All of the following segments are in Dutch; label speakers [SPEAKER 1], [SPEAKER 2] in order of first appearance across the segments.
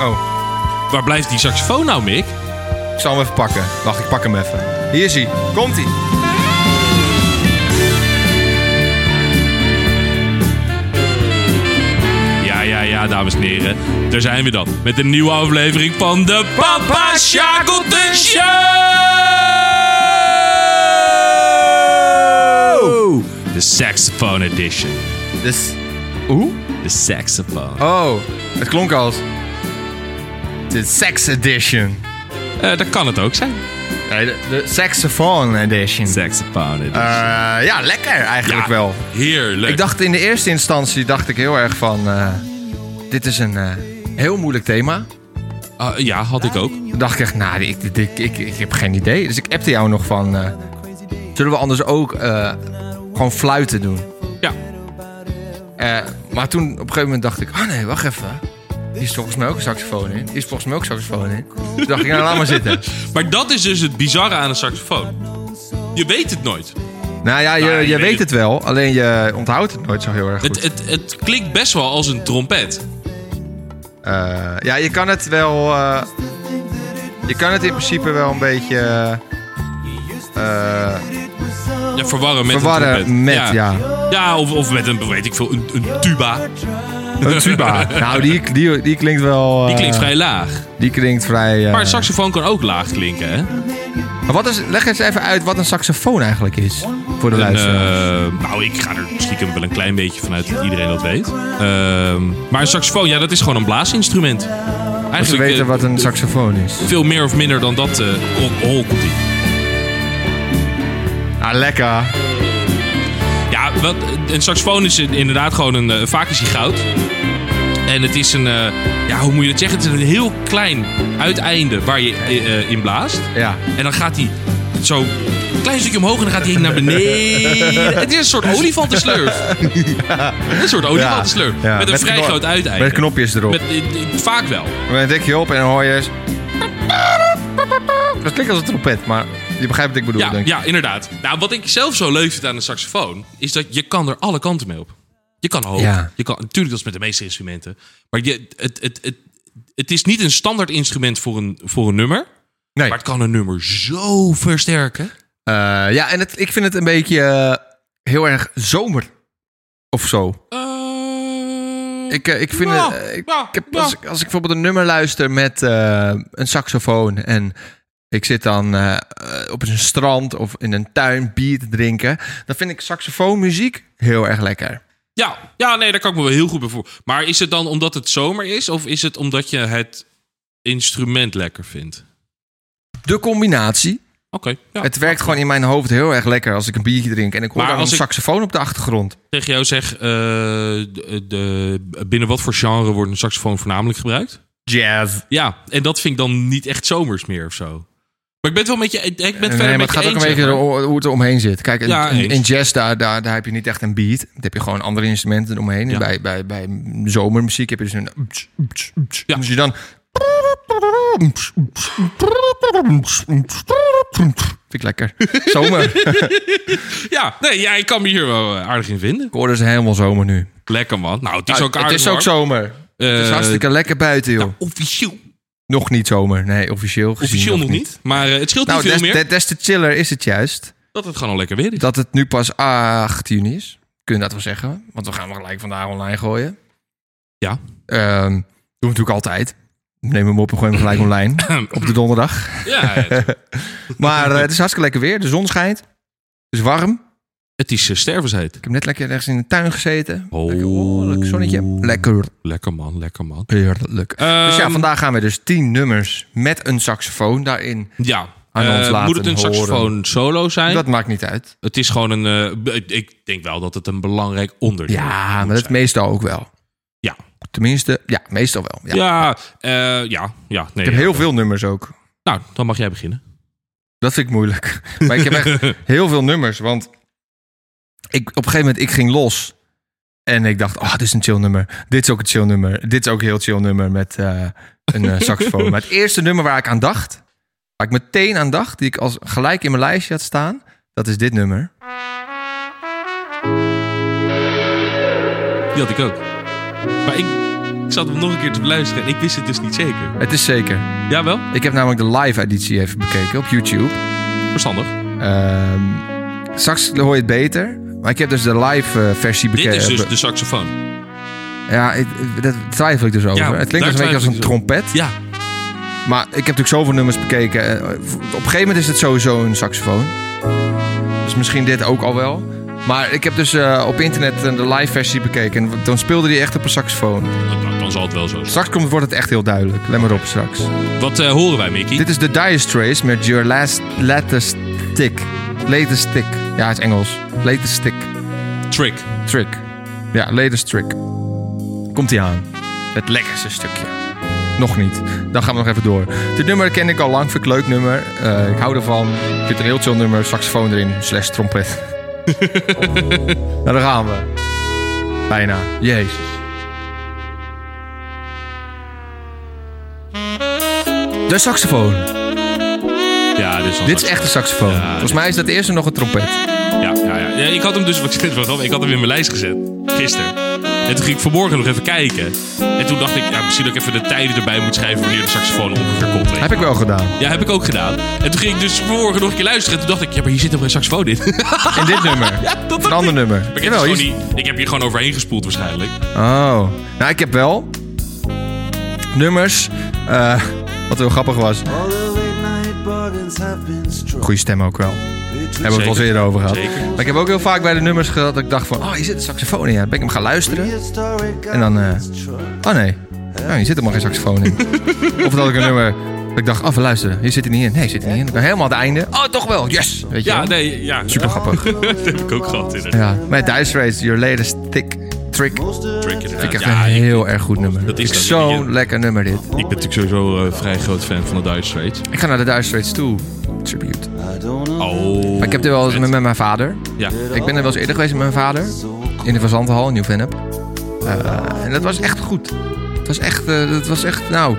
[SPEAKER 1] Oh,
[SPEAKER 2] Waar blijft die saxofoon nou, Mick?
[SPEAKER 1] ik zal hem even pakken. Wacht, ik pak hem even. Hier is hij. Komt hij.
[SPEAKER 2] Ja, ja, ja, dames en heren. Daar zijn we dan. Met een nieuwe aflevering van de Papa Shackleton Show! De Saxophone Edition.
[SPEAKER 1] Dus... Oeh?
[SPEAKER 2] De Saxophone.
[SPEAKER 1] Oh, het klonk als... De Sex Edition.
[SPEAKER 2] Eh, dat kan het ook zijn.
[SPEAKER 1] Nee, de, de Saxophone Edition.
[SPEAKER 2] Saxophone Edition.
[SPEAKER 1] Eh, ja, lekker eigenlijk wel.
[SPEAKER 2] Heerlijk.
[SPEAKER 1] Ik dacht in de eerste instantie dacht ik heel erg van... eh, dit is een eh, heel moeilijk thema.
[SPEAKER 2] Ah, ja, had ik ook.
[SPEAKER 1] Toen dacht ik echt, nou, ik, ik, ik, ik, ik heb geen idee. Dus ik appte jou nog van... eh, zullen we anders ook eh, gewoon fluiten doen?
[SPEAKER 2] Ja.
[SPEAKER 1] Eh, maar toen op een gegeven moment dacht ik... Ah nee, wacht even. Hier is volgens mij ook een saxofoon in. Hier is volgens mij ook een saxofoon in. Toen dacht ik, nou laat maar zitten.
[SPEAKER 2] Maar dat is dus het bizarre aan een saxofoon. Je weet het nooit.
[SPEAKER 1] Nou ja, je,
[SPEAKER 2] Nou,
[SPEAKER 1] je,
[SPEAKER 2] je weet
[SPEAKER 1] weet
[SPEAKER 2] het.
[SPEAKER 1] het wel. Alleen je onthoudt het nooit zo heel erg goed.
[SPEAKER 2] Het, het, het klinkt best wel als een trompet.
[SPEAKER 1] Eh, ja, je kan het wel... eh, je kan het in principe wel een beetje... eh, eh,
[SPEAKER 2] Ja, verwarren met een trompet.
[SPEAKER 1] verwarren met, ja.
[SPEAKER 2] Ja, of, of met een, weet ik veel, een, een tuba.
[SPEAKER 1] Een tuba. nou, die, die, die klinkt wel...
[SPEAKER 2] Die
[SPEAKER 1] eh,
[SPEAKER 2] klinkt vrij laag.
[SPEAKER 1] Die klinkt vrij... eh,
[SPEAKER 2] Maar een saxofoon kan ook laag klinken, hè? Een,
[SPEAKER 1] Maar wat is, leg eens even uit wat een saxofoon eigenlijk is. Voor de luisteraar.
[SPEAKER 2] eh, nou, ik ga er stiekem wel een klein beetje vanuit dat iedereen dat weet. Ehm, maar een saxofoon, ja, dat is gewoon een blaasinstrument. Eigenlijk
[SPEAKER 1] Ze weten
[SPEAKER 2] eh,
[SPEAKER 1] wat een saxofoon is.
[SPEAKER 2] veel meer of minder dan dat. eh oh, oh, komt-ie.
[SPEAKER 1] Ah, lekker.
[SPEAKER 2] Ja, wat, een saxofoon is een- inderdaad gewoon een. eh, Vaak is hij goud. En het is een. eh, ja, hoe moet je dat zeggen? Het is een heel klein uiteinde waar je eh, in blaast.
[SPEAKER 1] Ja.
[SPEAKER 2] En dan gaat hij zo een klein stukje omhoog en dan gaat hij naar beneden. Het is een soort olifantenslurf. Een soort olifantenslurf.
[SPEAKER 1] Ja,
[SPEAKER 2] Met een
[SPEAKER 1] met
[SPEAKER 2] vrij
[SPEAKER 1] knop-
[SPEAKER 2] groot uiteinde.
[SPEAKER 1] Met knopjes erop.
[SPEAKER 2] Met- eh, eh, vaak wel.
[SPEAKER 1] Met een dikje op en dan hoor je eens... Dat klinkt als een trompet, maar je begrijpt wat ik bedoel,
[SPEAKER 2] Ja,
[SPEAKER 1] denk ik.
[SPEAKER 2] ja, inderdaad. Nou, wat ik zelf zo leuk vind aan een saxofoon, is dat je kan er alle kanten mee op. Je kan hoog.
[SPEAKER 1] Ja.
[SPEAKER 2] Je kan, natuurlijk, dat is met de meeste instrumenten. Maar je, het, het, het, het is niet een standaard instrument voor een, voor een nummer.
[SPEAKER 1] Nee.
[SPEAKER 2] Maar het kan een nummer zo versterken.
[SPEAKER 1] Eh, ja, en het, ik vind het een beetje eh, heel erg zomer. Of zo.
[SPEAKER 2] Eh,
[SPEAKER 1] Ik, eh, ik vind
[SPEAKER 2] Ja,
[SPEAKER 1] het... eh, ik,
[SPEAKER 2] ja,
[SPEAKER 1] ik heb,
[SPEAKER 2] ja.
[SPEAKER 1] als, ik- als ik bijvoorbeeld een nummer luister met eh, een saxofoon en ik zit dan eh, eh, op een strand of in een tuin bier te drinken, dan vind ik saxofoonmuziek heel erg lekker.
[SPEAKER 2] Ja, ja, nee, daar kan ik me wel heel goed bij voor. Maar is het dan omdat het zomer is, of is het omdat je het instrument lekker vindt?
[SPEAKER 1] De combinatie.
[SPEAKER 2] Oké, ja.
[SPEAKER 1] Het werkt gewoon in mijn hoofd heel erg lekker als ik een biertje drink en ik hoor
[SPEAKER 2] Maar
[SPEAKER 1] dan een
[SPEAKER 2] als ik-
[SPEAKER 1] saxofoon op de achtergrond.
[SPEAKER 2] tegen jou zeg, eh, de, de- binnen wat voor genre wordt een saxofoon voornamelijk gebruikt?
[SPEAKER 1] Jazz.
[SPEAKER 2] Ja, en dat vind ik dan niet echt zomers meer of zo. Maar ik ben het wel met je, ik ben het
[SPEAKER 1] Nee,
[SPEAKER 2] verder
[SPEAKER 1] maar
[SPEAKER 2] met
[SPEAKER 1] het gaat
[SPEAKER 2] je
[SPEAKER 1] ook een
[SPEAKER 2] eens,
[SPEAKER 1] beetje
[SPEAKER 2] zeg maar.
[SPEAKER 1] door hoe het er omheen zit. Kijk, in,
[SPEAKER 2] Ja,
[SPEAKER 1] in-
[SPEAKER 2] eens.
[SPEAKER 1] in jazz daar, daar, daar heb je niet echt een beat. Dan heb je gewoon andere instrumenten eromheen. En
[SPEAKER 2] Ja.
[SPEAKER 1] Bij, bij, bij zomermuziek heb je dus een...
[SPEAKER 2] Ja.
[SPEAKER 1] Dus je dan... Vind ik lekker. Zomer.
[SPEAKER 2] Ja, nee, ja, ik kan me hier wel eh, aardig in vinden.
[SPEAKER 1] ik hoor dus helemaal zomer nu.
[SPEAKER 2] Lekker man. Nou, het is
[SPEAKER 1] Ah,
[SPEAKER 2] ook aardig
[SPEAKER 1] het is ook
[SPEAKER 2] warm.
[SPEAKER 1] zomer. het is
[SPEAKER 2] Eh,
[SPEAKER 1] hartstikke lekker buiten, joh.
[SPEAKER 2] nou, officieel,
[SPEAKER 1] nog niet zomer. Nee, officieel gezien
[SPEAKER 2] officieel nog niet. Maar eh, het scheelt
[SPEAKER 1] Nou,
[SPEAKER 2] niet
[SPEAKER 1] des,
[SPEAKER 2] veel meer
[SPEAKER 1] des, des te chiller is het juist.
[SPEAKER 2] dat het gewoon al lekker weer is.
[SPEAKER 1] dat het nu pas 8 juni is. Kun je dat wel zeggen? Want we gaan hem gelijk vandaag online gooien.
[SPEAKER 2] Ja.
[SPEAKER 1] Ehm, doen we natuurlijk altijd. Neem hem op en gooi hem gelijk online. op de donderdag.
[SPEAKER 2] Ja, het-
[SPEAKER 1] Maar eh, het is hartstikke lekker weer. De zon schijnt. Het is warm.
[SPEAKER 2] het is eh, stervensheid.
[SPEAKER 1] Ik heb net lekker ergens in de tuin gezeten.
[SPEAKER 2] Oh.
[SPEAKER 1] Lekker, oh, lekker zonnetje. Lekker.
[SPEAKER 2] Lekker man, lekker man.
[SPEAKER 1] Heerlijk.
[SPEAKER 2] Ehm,
[SPEAKER 1] dus ja, vandaag gaan we dus 10 nummers met een saxofoon daarin.
[SPEAKER 2] Ja.
[SPEAKER 1] Aan
[SPEAKER 2] Eh,
[SPEAKER 1] ons laten
[SPEAKER 2] moet het een
[SPEAKER 1] horen.
[SPEAKER 2] saxofoon solo zijn?
[SPEAKER 1] Dat maakt niet uit.
[SPEAKER 2] Het is gewoon een. eh, b- ik denk wel dat het een belangrijk onderdeel
[SPEAKER 1] Ja,
[SPEAKER 2] moet
[SPEAKER 1] maar dat is
[SPEAKER 2] zijn.
[SPEAKER 1] meestal ook wel.
[SPEAKER 2] Ja.
[SPEAKER 1] Tenminste, ja, meestal wel. Ja.
[SPEAKER 2] Ja, eh, ja, ja. Nee,
[SPEAKER 1] Ik heb heel veel nummers ook.
[SPEAKER 2] Nou, dan mag jij beginnen.
[SPEAKER 1] Dat vind ik moeilijk. Maar ik heb echt heel veel nummers. Want ik, op een gegeven moment, ik ging los. En ik dacht, oh, dit is een chill nummer. Dit is ook een chill nummer. Dit is ook een heel chill nummer met eh, een eh, saxofoon. Maar het eerste nummer waar ik aan dacht, waar ik meteen aan dacht, die ik als gelijk in mijn lijstje had staan, dat is dit nummer.
[SPEAKER 2] Die had ik ook. Maar ik, ik zat hem nog een keer te beluisteren en ik wist het dus niet zeker.
[SPEAKER 1] Het is zeker.
[SPEAKER 2] Jawel,
[SPEAKER 1] Ik heb namelijk de live editie even bekeken op YouTube.
[SPEAKER 2] verstandig.
[SPEAKER 1] Ehm, straks hoor je het beter. Maar ik heb dus de live eh, versie bekeken.
[SPEAKER 2] Dit is dus de saxofoon.
[SPEAKER 1] Ja, ik, ik- daar twijfel ik dus over. het
[SPEAKER 2] daar
[SPEAKER 1] klinkt als een beetje als een
[SPEAKER 2] twijfel ik dus
[SPEAKER 1] trompet.
[SPEAKER 2] Ja,
[SPEAKER 1] Maar ik heb natuurlijk zoveel nummers bekeken. Eh, Op een gegeven moment is het sowieso een saxofoon. Dus misschien dit ook al wel. Maar ik heb dus eh, op internet eh, de live versie bekeken. En dan speelde die echt op een saxofoon.
[SPEAKER 2] dan, dan zal het wel zo zijn.
[SPEAKER 1] Straks komt, wordt het echt heel duidelijk. Let maar op straks.
[SPEAKER 2] Wat eh, horen wij, Mickey?
[SPEAKER 1] Dit is de Dire Straits met Your Last Latest Stick. Latest Stick. Ja, het is Engels. Latest Stick.
[SPEAKER 2] Trick.
[SPEAKER 1] Trick. Ja, Latest Trick. Komt ie aan. Het lekkerste stukje. Nog niet. Dan gaan we nog even door. Dit nummer ken ik al lang. Vind ik een leuk nummer. Eh, ik hou ervan. Ik vind het een heel chill nummer. Saxofoon erin. Slash trompet. nou, daar gaan we. Bijna. Jezus. De saxofoon.
[SPEAKER 2] Ja, dit is wel
[SPEAKER 1] Dit is
[SPEAKER 2] saxofoon.
[SPEAKER 1] echt een saxofoon.
[SPEAKER 2] Ja,
[SPEAKER 1] Volgens
[SPEAKER 2] dit-
[SPEAKER 1] mij is dat eerste nog een trompet.
[SPEAKER 2] Ja, ja, ja. ja ik had hem dus, wat ik vind het wel grappig, ik had hem in mijn lijst gezet. Gisteren. En toen ging ik vanmorgen nog even kijken. En toen dacht ik, ja, misschien dat ik even de tijden erbij moet schrijven wanneer de saxofoon ongeveer komt. weet
[SPEAKER 1] Heb
[SPEAKER 2] je.
[SPEAKER 1] ik wel gedaan.
[SPEAKER 2] Ja, heb ik ook gedaan. En toen ging ik dus vanmorgen nog een keer luisteren. En toen dacht ik, ja, maar hier zit toch een saxofoon in?
[SPEAKER 1] En dit nummer.
[SPEAKER 2] dat dacht
[SPEAKER 1] Of een ander nummer.
[SPEAKER 2] Maar ik heb,
[SPEAKER 1] Jawel,
[SPEAKER 2] dus
[SPEAKER 1] hier
[SPEAKER 2] gewoon niet- ik heb hier gewoon overheen gespoeld waarschijnlijk.
[SPEAKER 1] Oh. Nou, ik heb wel nummers. eh, wat heel grappig was.
[SPEAKER 3] All the late night bargains have been struck.
[SPEAKER 1] Goede stem ook wel. Hebben we het wel eens eerder over gehad.
[SPEAKER 2] Zeker.
[SPEAKER 1] Maar ik heb ook heel vaak bij de nummers gehad dat ik dacht van... Oh, hier zit een saxofoon in. Ja, ben ik hem gaan luisteren. En dan, eh, Oh nee. Nou, hier zit helemaal geen saxofoon in. of dat ik een nummer... Dat ik dacht, oh, we luisteren. Hier zit hij niet in. Nee, hier zit hij niet in. Dan ben ik helemaal aan het einde. Oh, toch wel. Yes. Weet je
[SPEAKER 2] Ja,
[SPEAKER 1] wel?
[SPEAKER 2] nee, ja.
[SPEAKER 1] Super grappig.
[SPEAKER 2] dat heb ik ook gehad inderdaad.
[SPEAKER 1] Ja. Met Dice Race, Your Latest Tick Trick. Vind
[SPEAKER 2] Trick
[SPEAKER 1] ik
[SPEAKER 2] inderdaad.
[SPEAKER 1] echt
[SPEAKER 2] Ja,
[SPEAKER 1] een
[SPEAKER 2] ik,
[SPEAKER 1] heel erg goed nummer.
[SPEAKER 2] Dat is
[SPEAKER 1] Vind ik
[SPEAKER 2] dat,
[SPEAKER 1] Zo'n
[SPEAKER 2] ja.
[SPEAKER 1] lekker nummer dit.
[SPEAKER 2] ik ben natuurlijk sowieso eh, vrij groot fan van de Dire Straits.
[SPEAKER 1] Ik ga naar de Dire Straits toe. Tribute.
[SPEAKER 2] Oh.
[SPEAKER 1] Maar ik heb er wel eens
[SPEAKER 2] vet.
[SPEAKER 1] met, met mijn vader.
[SPEAKER 2] Ja.
[SPEAKER 1] Ik ben er wel eens eerder geweest met mijn vader. In de Fazantenhal in Nieuw-Vennep. Eh, en dat was echt goed. Het was echt, eh, dat was echt, nou...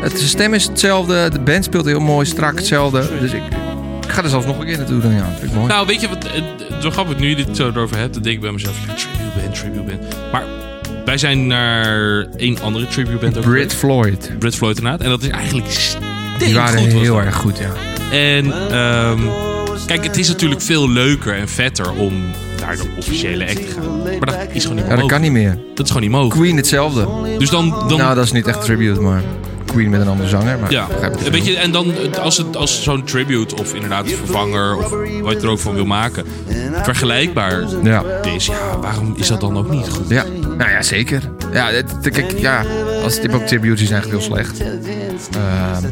[SPEAKER 1] Het, de stem is hetzelfde. De band speelt heel mooi, strak hetzelfde. Dus ik, ik ga er zelfs nog een keer naartoe. Dan, ja, vind ik mooi.
[SPEAKER 2] Nou, weet je wat? eh, Zo grappig, nu je dit zo erover hebt, dan denk ik bij mezelf: ja, tribute band, tribute band. Maar wij zijn naar één andere tribute band ook
[SPEAKER 1] Brit
[SPEAKER 2] geweest.
[SPEAKER 1] Floyd.
[SPEAKER 2] Brit Floyd inderdaad. En dat is eigenlijk
[SPEAKER 1] Die waren
[SPEAKER 2] goed, was
[SPEAKER 1] heel
[SPEAKER 2] dat.
[SPEAKER 1] erg goed, ja.
[SPEAKER 2] En ehm, kijk, het is natuurlijk veel leuker en vetter om naar de officiële act te gaan. Maar dat is gewoon niet
[SPEAKER 1] Ja, dat kan
[SPEAKER 2] mogelijk.
[SPEAKER 1] niet meer.
[SPEAKER 2] Dat is gewoon niet mogelijk.
[SPEAKER 1] Queen hetzelfde.
[SPEAKER 2] Dus dan... dan
[SPEAKER 1] Nou, dat is niet echt tribute, maar Queen met een andere zanger. Maar
[SPEAKER 2] ja,
[SPEAKER 1] ik begrijp wat je
[SPEAKER 2] een beetje, en dan eh, als, het, als zo'n tribute of inderdaad vervanger of wat je er ook van wil maken, vergelijkbaar
[SPEAKER 1] bedoelt. Ja.
[SPEAKER 2] is, Dus ja, waarom is dat dan ook niet goed?
[SPEAKER 1] Ja, nou ja, zeker. Ja, het, het- kijk, ja als het ook tributes zijn eigenlijk heel slecht. Ehm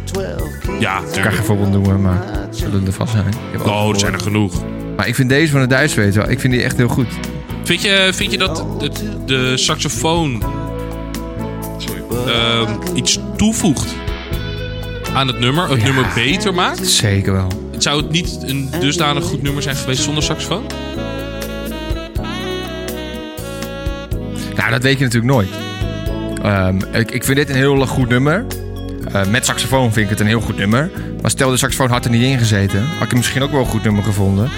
[SPEAKER 2] Ja,
[SPEAKER 1] ik kan geen voorbeeld noemen, maar zullen er vast zijn. Ik heb ook
[SPEAKER 2] Oh, er zijn er
[SPEAKER 1] gehoord.
[SPEAKER 2] genoeg.
[SPEAKER 1] Maar ik vind deze van de Duits weet wel, ik vind die echt heel goed.
[SPEAKER 2] Vind je, vind je dat de, de saxofoon ehm, iets toevoegt aan het nummer? Het nummer beter maakt?
[SPEAKER 1] Zeker wel.
[SPEAKER 2] Zou het niet een dusdanig goed nummer zijn geweest zonder saxofoon?
[SPEAKER 1] Nou, dat weet je natuurlijk nooit. Ehm, ik, ik vind dit een heel goed nummer. Eh, met saxofoon vind ik het een heel goed nummer. Maar stel de saxofoon had er niet in gezeten, had ik het misschien ook wel een goed nummer gevonden.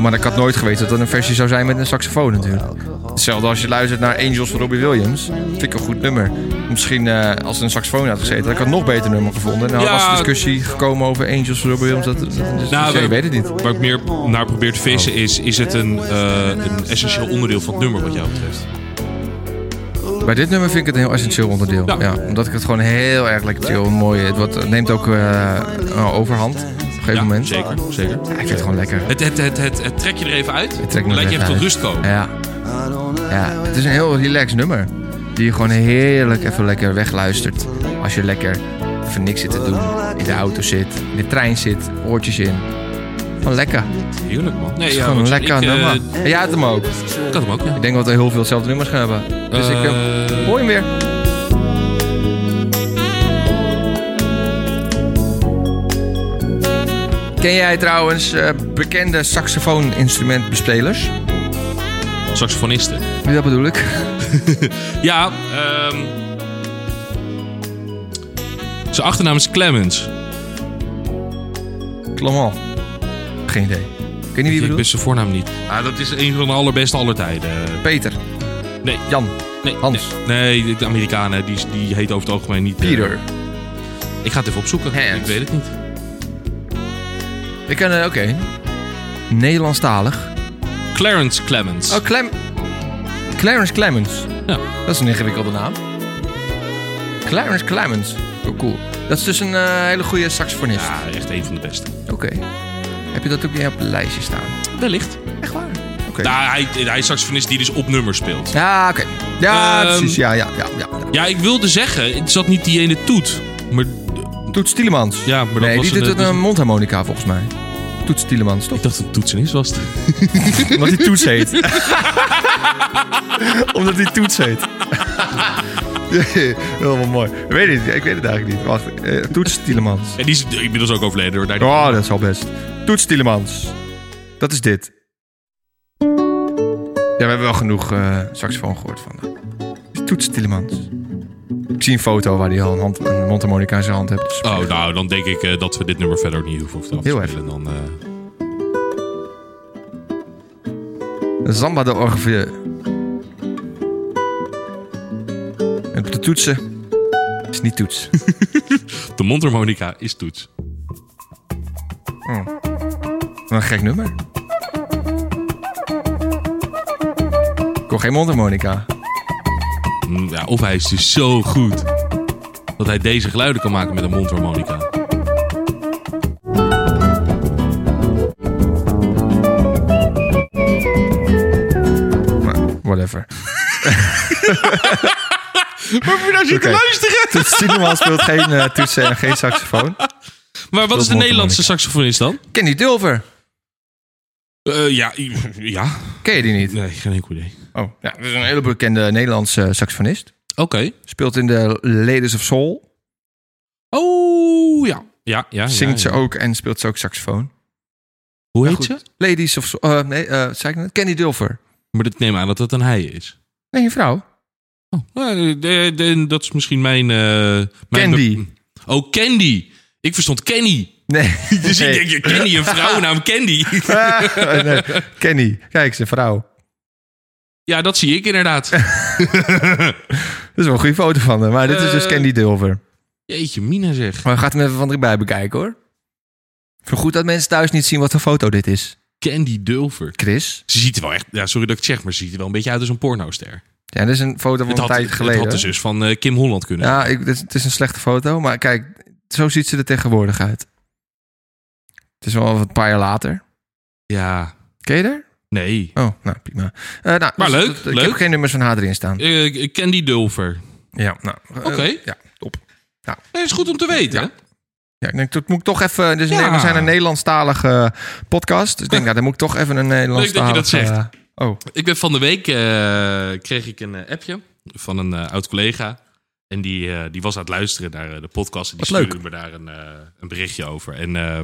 [SPEAKER 1] Maar ik had nooit geweten dat er een versie zou zijn met een saxofoon natuurlijk. Hetzelfde als je luistert naar Angels van Robbie Williams. Vind ik een goed nummer. Misschien eh, als er een saxofoon had gezeten, had ik een nog beter nummer gevonden. Nou
[SPEAKER 2] Ja.
[SPEAKER 1] was er discussie gekomen over Angels van Robbie Williams. Dat, dat, dat-
[SPEAKER 2] Nou,
[SPEAKER 1] ik
[SPEAKER 2] we-
[SPEAKER 1] weet het niet.
[SPEAKER 2] Waar ik meer naar probeer te vissen is, is het een, eh, een essentieel onderdeel van het nummer wat jou betreft?
[SPEAKER 1] Bij dit nummer vind ik het een heel essentieel onderdeel.
[SPEAKER 2] Ja.
[SPEAKER 1] Ja. omdat ik het gewoon heel erg lekker chill en mooi... Het, wordt, het neemt ook eh, eh, overhand op een gegeven moment.
[SPEAKER 2] zeker, zeker.
[SPEAKER 1] Ja, ik vind het gewoon lekker.
[SPEAKER 2] Het, het, het, het, het trek je er even uit,
[SPEAKER 1] trek me
[SPEAKER 2] dan
[SPEAKER 1] er
[SPEAKER 2] laat je
[SPEAKER 1] even
[SPEAKER 2] even tot
[SPEAKER 1] uit.
[SPEAKER 2] rust komen.
[SPEAKER 1] Ja. ja, het is een heel relaxed nummer. Die je gewoon heerlijk even lekker wegluistert. Als je lekker even niks zit te doen. In de auto zit, in de trein zit, oortjes in. Gewoon lekker.
[SPEAKER 2] Heerlijk man. Nee,
[SPEAKER 1] Het is
[SPEAKER 2] ja,
[SPEAKER 1] gewoon
[SPEAKER 2] want
[SPEAKER 1] een lekker
[SPEAKER 2] ik, eh,
[SPEAKER 1] nummer. En jij had hem ook.
[SPEAKER 2] Ik had hem ook, ja.
[SPEAKER 1] Ik denk dat we heel veel hetzelfde nummers gaan hebben. Dus ik... eh,
[SPEAKER 2] Eh,
[SPEAKER 1] Hoor je hem weer? Ken jij trouwens eh, bekende saxofooninstrumentbespelers?
[SPEAKER 2] saxofonisten.
[SPEAKER 1] Dat bedoel ik.
[SPEAKER 2] Ja, ehm zijn achternaam is Clemens. Dus
[SPEAKER 1] Clamant. Geen idee. Ken je wie
[SPEAKER 2] Ik
[SPEAKER 1] bedoel?
[SPEAKER 2] wist zijn voornaam niet. Ah, dat is een van de allerbeste aller tijden.
[SPEAKER 1] Peter.
[SPEAKER 2] Nee.
[SPEAKER 1] Jan.
[SPEAKER 2] Nee,
[SPEAKER 1] Hans.
[SPEAKER 2] Nee, nee, de Amerikanen, die, die heet over het algemeen niet... eh,
[SPEAKER 1] Peter.
[SPEAKER 2] ik ga het even opzoeken.
[SPEAKER 1] Hans.
[SPEAKER 2] Ik weet het niet.
[SPEAKER 1] Ik ken, eh, oké. Nederlandstalig.
[SPEAKER 2] Clarence Clemens.
[SPEAKER 1] Oh, Clem... Clarence Clemens.
[SPEAKER 2] Ja.
[SPEAKER 1] Dat is een ingewikkelde naam. Clarence Clemens. Oh, cool. Dat is dus een eh, hele goede saxofonist.
[SPEAKER 2] Ja, echt een van de beste.
[SPEAKER 1] Oké. Heb je dat ook niet op het lijstje staan?
[SPEAKER 2] Wellicht.
[SPEAKER 1] Echt waar? Oké.
[SPEAKER 2] Nou, hij, hij is saxofonist die dus op nummers speelt.
[SPEAKER 1] Ja, oké. Ja,
[SPEAKER 2] Ehm,
[SPEAKER 1] precies. Ja, ja, ja. ja.
[SPEAKER 2] Ja, ik wilde zeggen, het zat niet die ene toet. Maar
[SPEAKER 1] Toets Tielemans.
[SPEAKER 2] ja, maar dat
[SPEAKER 1] nee,
[SPEAKER 2] was
[SPEAKER 1] die
[SPEAKER 2] een,
[SPEAKER 1] doet het nou-
[SPEAKER 2] dat
[SPEAKER 1] een mondharmonica volgens mij. Toets Tielemans, toch?
[SPEAKER 2] Ik dacht dat het toetsenist was. het.
[SPEAKER 1] Omdat hij Toets heet. Omdat hij Toets heet. Heel mooi. Ik weet het, ik weet het eigenlijk niet. Wacht, eh, Toets Tielemans.
[SPEAKER 2] En die is inmiddels ook overleden hoor. Daar-
[SPEAKER 1] Oh, dat is al best. Toets Tielemans. Dat is dit. Ja, we hebben wel genoeg eh, saxofoon gehoord van haar. Toets Tielemans. Ik zie een foto waar hij al een, hand, een mondharmonica in zijn hand heeft. Dus-
[SPEAKER 2] Oh, nou, dan denk ik eh, dat we dit nummer verder ook niet hoeven af te
[SPEAKER 1] Heel
[SPEAKER 2] spelen. Dan, eh,
[SPEAKER 1] Zamba de Orgeville. En op de toetsen is niet toets.
[SPEAKER 2] de mondharmonica is toets.
[SPEAKER 1] Wat een gek nummer. Ik hoor geen mondharmonica.
[SPEAKER 2] Mm, Ja, of hij is dus zo goed dat hij deze geluiden kan maken met een mondharmonica.
[SPEAKER 1] Maar whatever.
[SPEAKER 2] Waarvoor je nou zit
[SPEAKER 1] Oké.
[SPEAKER 2] luisteren?
[SPEAKER 1] Toets Tielemans speelt geen eh, toetsen en geen saxofoon.
[SPEAKER 2] Maar wat is de
[SPEAKER 1] mondharmonica.
[SPEAKER 2] Nederlandse saxofonist dan?
[SPEAKER 1] Kenny Dulver.
[SPEAKER 2] Eh, ja, i- ja.
[SPEAKER 1] Ken je die niet?
[SPEAKER 2] Nee, geen enkel idee.
[SPEAKER 1] Oh, ja, dat is een hele bekende Nederlandse eh, saxofonist.
[SPEAKER 2] Oké.
[SPEAKER 1] Speelt in de Ladies of Soul.
[SPEAKER 2] Oh, ja. Ja, ja.
[SPEAKER 1] Zingt
[SPEAKER 2] ja,
[SPEAKER 1] ze
[SPEAKER 2] ja.
[SPEAKER 1] ook en speelt ze ook saxofoon.
[SPEAKER 2] Hoe heet
[SPEAKER 1] Goed.
[SPEAKER 2] ze?
[SPEAKER 1] Ladies of Soul. eh, nee, eh zei ik net? Kenny Dulver.
[SPEAKER 2] Maar ik neem aan dat dat een hij is.
[SPEAKER 1] Nee, een vrouw.
[SPEAKER 2] Oh, nou, de- de- dat is misschien mijn... eh, mijn
[SPEAKER 1] Candy.
[SPEAKER 2] Oh, Candy. Ik verstond Kenny.
[SPEAKER 1] Nee.
[SPEAKER 2] Dus ik denk, je Candy, een vrouw naam Candy.
[SPEAKER 1] Ah, nee. Kenny. Kijk, zijn vrouw.
[SPEAKER 2] Ja, dat zie ik inderdaad.
[SPEAKER 1] Dat is wel een goede foto van hem. Maar dit is dus
[SPEAKER 2] Eh.
[SPEAKER 1] Candy Dulver.
[SPEAKER 2] Jeetje, Mina zeg.
[SPEAKER 1] Maar gaat hem even van erbij bekijken hoor. Voor goed dat mensen thuis niet zien wat voor foto dit is.
[SPEAKER 2] Candy Dulver.
[SPEAKER 1] Chris.
[SPEAKER 2] Ze ziet er wel echt... Ja, sorry dat ik het zeg, maar ze ziet er wel een beetje uit als een pornoster.
[SPEAKER 1] Ja, dit is een foto van
[SPEAKER 2] Het
[SPEAKER 1] een
[SPEAKER 2] had,
[SPEAKER 1] tijd
[SPEAKER 2] het
[SPEAKER 1] geleden.
[SPEAKER 2] had de zus van eh, Kim Holland kunnen.
[SPEAKER 1] Ja, ik, dit, het is een slechte foto. Maar kijk, zo ziet ze er tegenwoordig uit. Het is wel een paar jaar later.
[SPEAKER 2] Ja.
[SPEAKER 1] Ken je daar?
[SPEAKER 2] Nee.
[SPEAKER 1] Oh, nou prima. Eh, nou,
[SPEAKER 2] Maar leuk,
[SPEAKER 1] dat- Ik
[SPEAKER 2] leuk.
[SPEAKER 1] heb geen nummers van haar erin staan.
[SPEAKER 2] Eh, Candy Dulver.
[SPEAKER 1] Ja, nou. Oké.
[SPEAKER 2] Oké.
[SPEAKER 1] ja, top.
[SPEAKER 2] Dat is goed om te weten.
[SPEAKER 1] Ja. Ja, ik denk, dat moet ik toch even... Dus
[SPEAKER 2] Ja.
[SPEAKER 1] we zijn een Nederlandstalige podcast. Dus ik denk, nou, dan moet ik toch even een
[SPEAKER 2] dat je
[SPEAKER 1] Nederlandstalige...
[SPEAKER 2] dat zegt.
[SPEAKER 1] eh, oh,
[SPEAKER 2] Ik ben van de week eh, kreeg ik een eh, appje van een eh, oud collega. En die, eh, die was aan het luisteren naar eh, de podcast. En die
[SPEAKER 1] Wat leuk.
[SPEAKER 2] stuurde me daar een, eh, een berichtje over. En eh,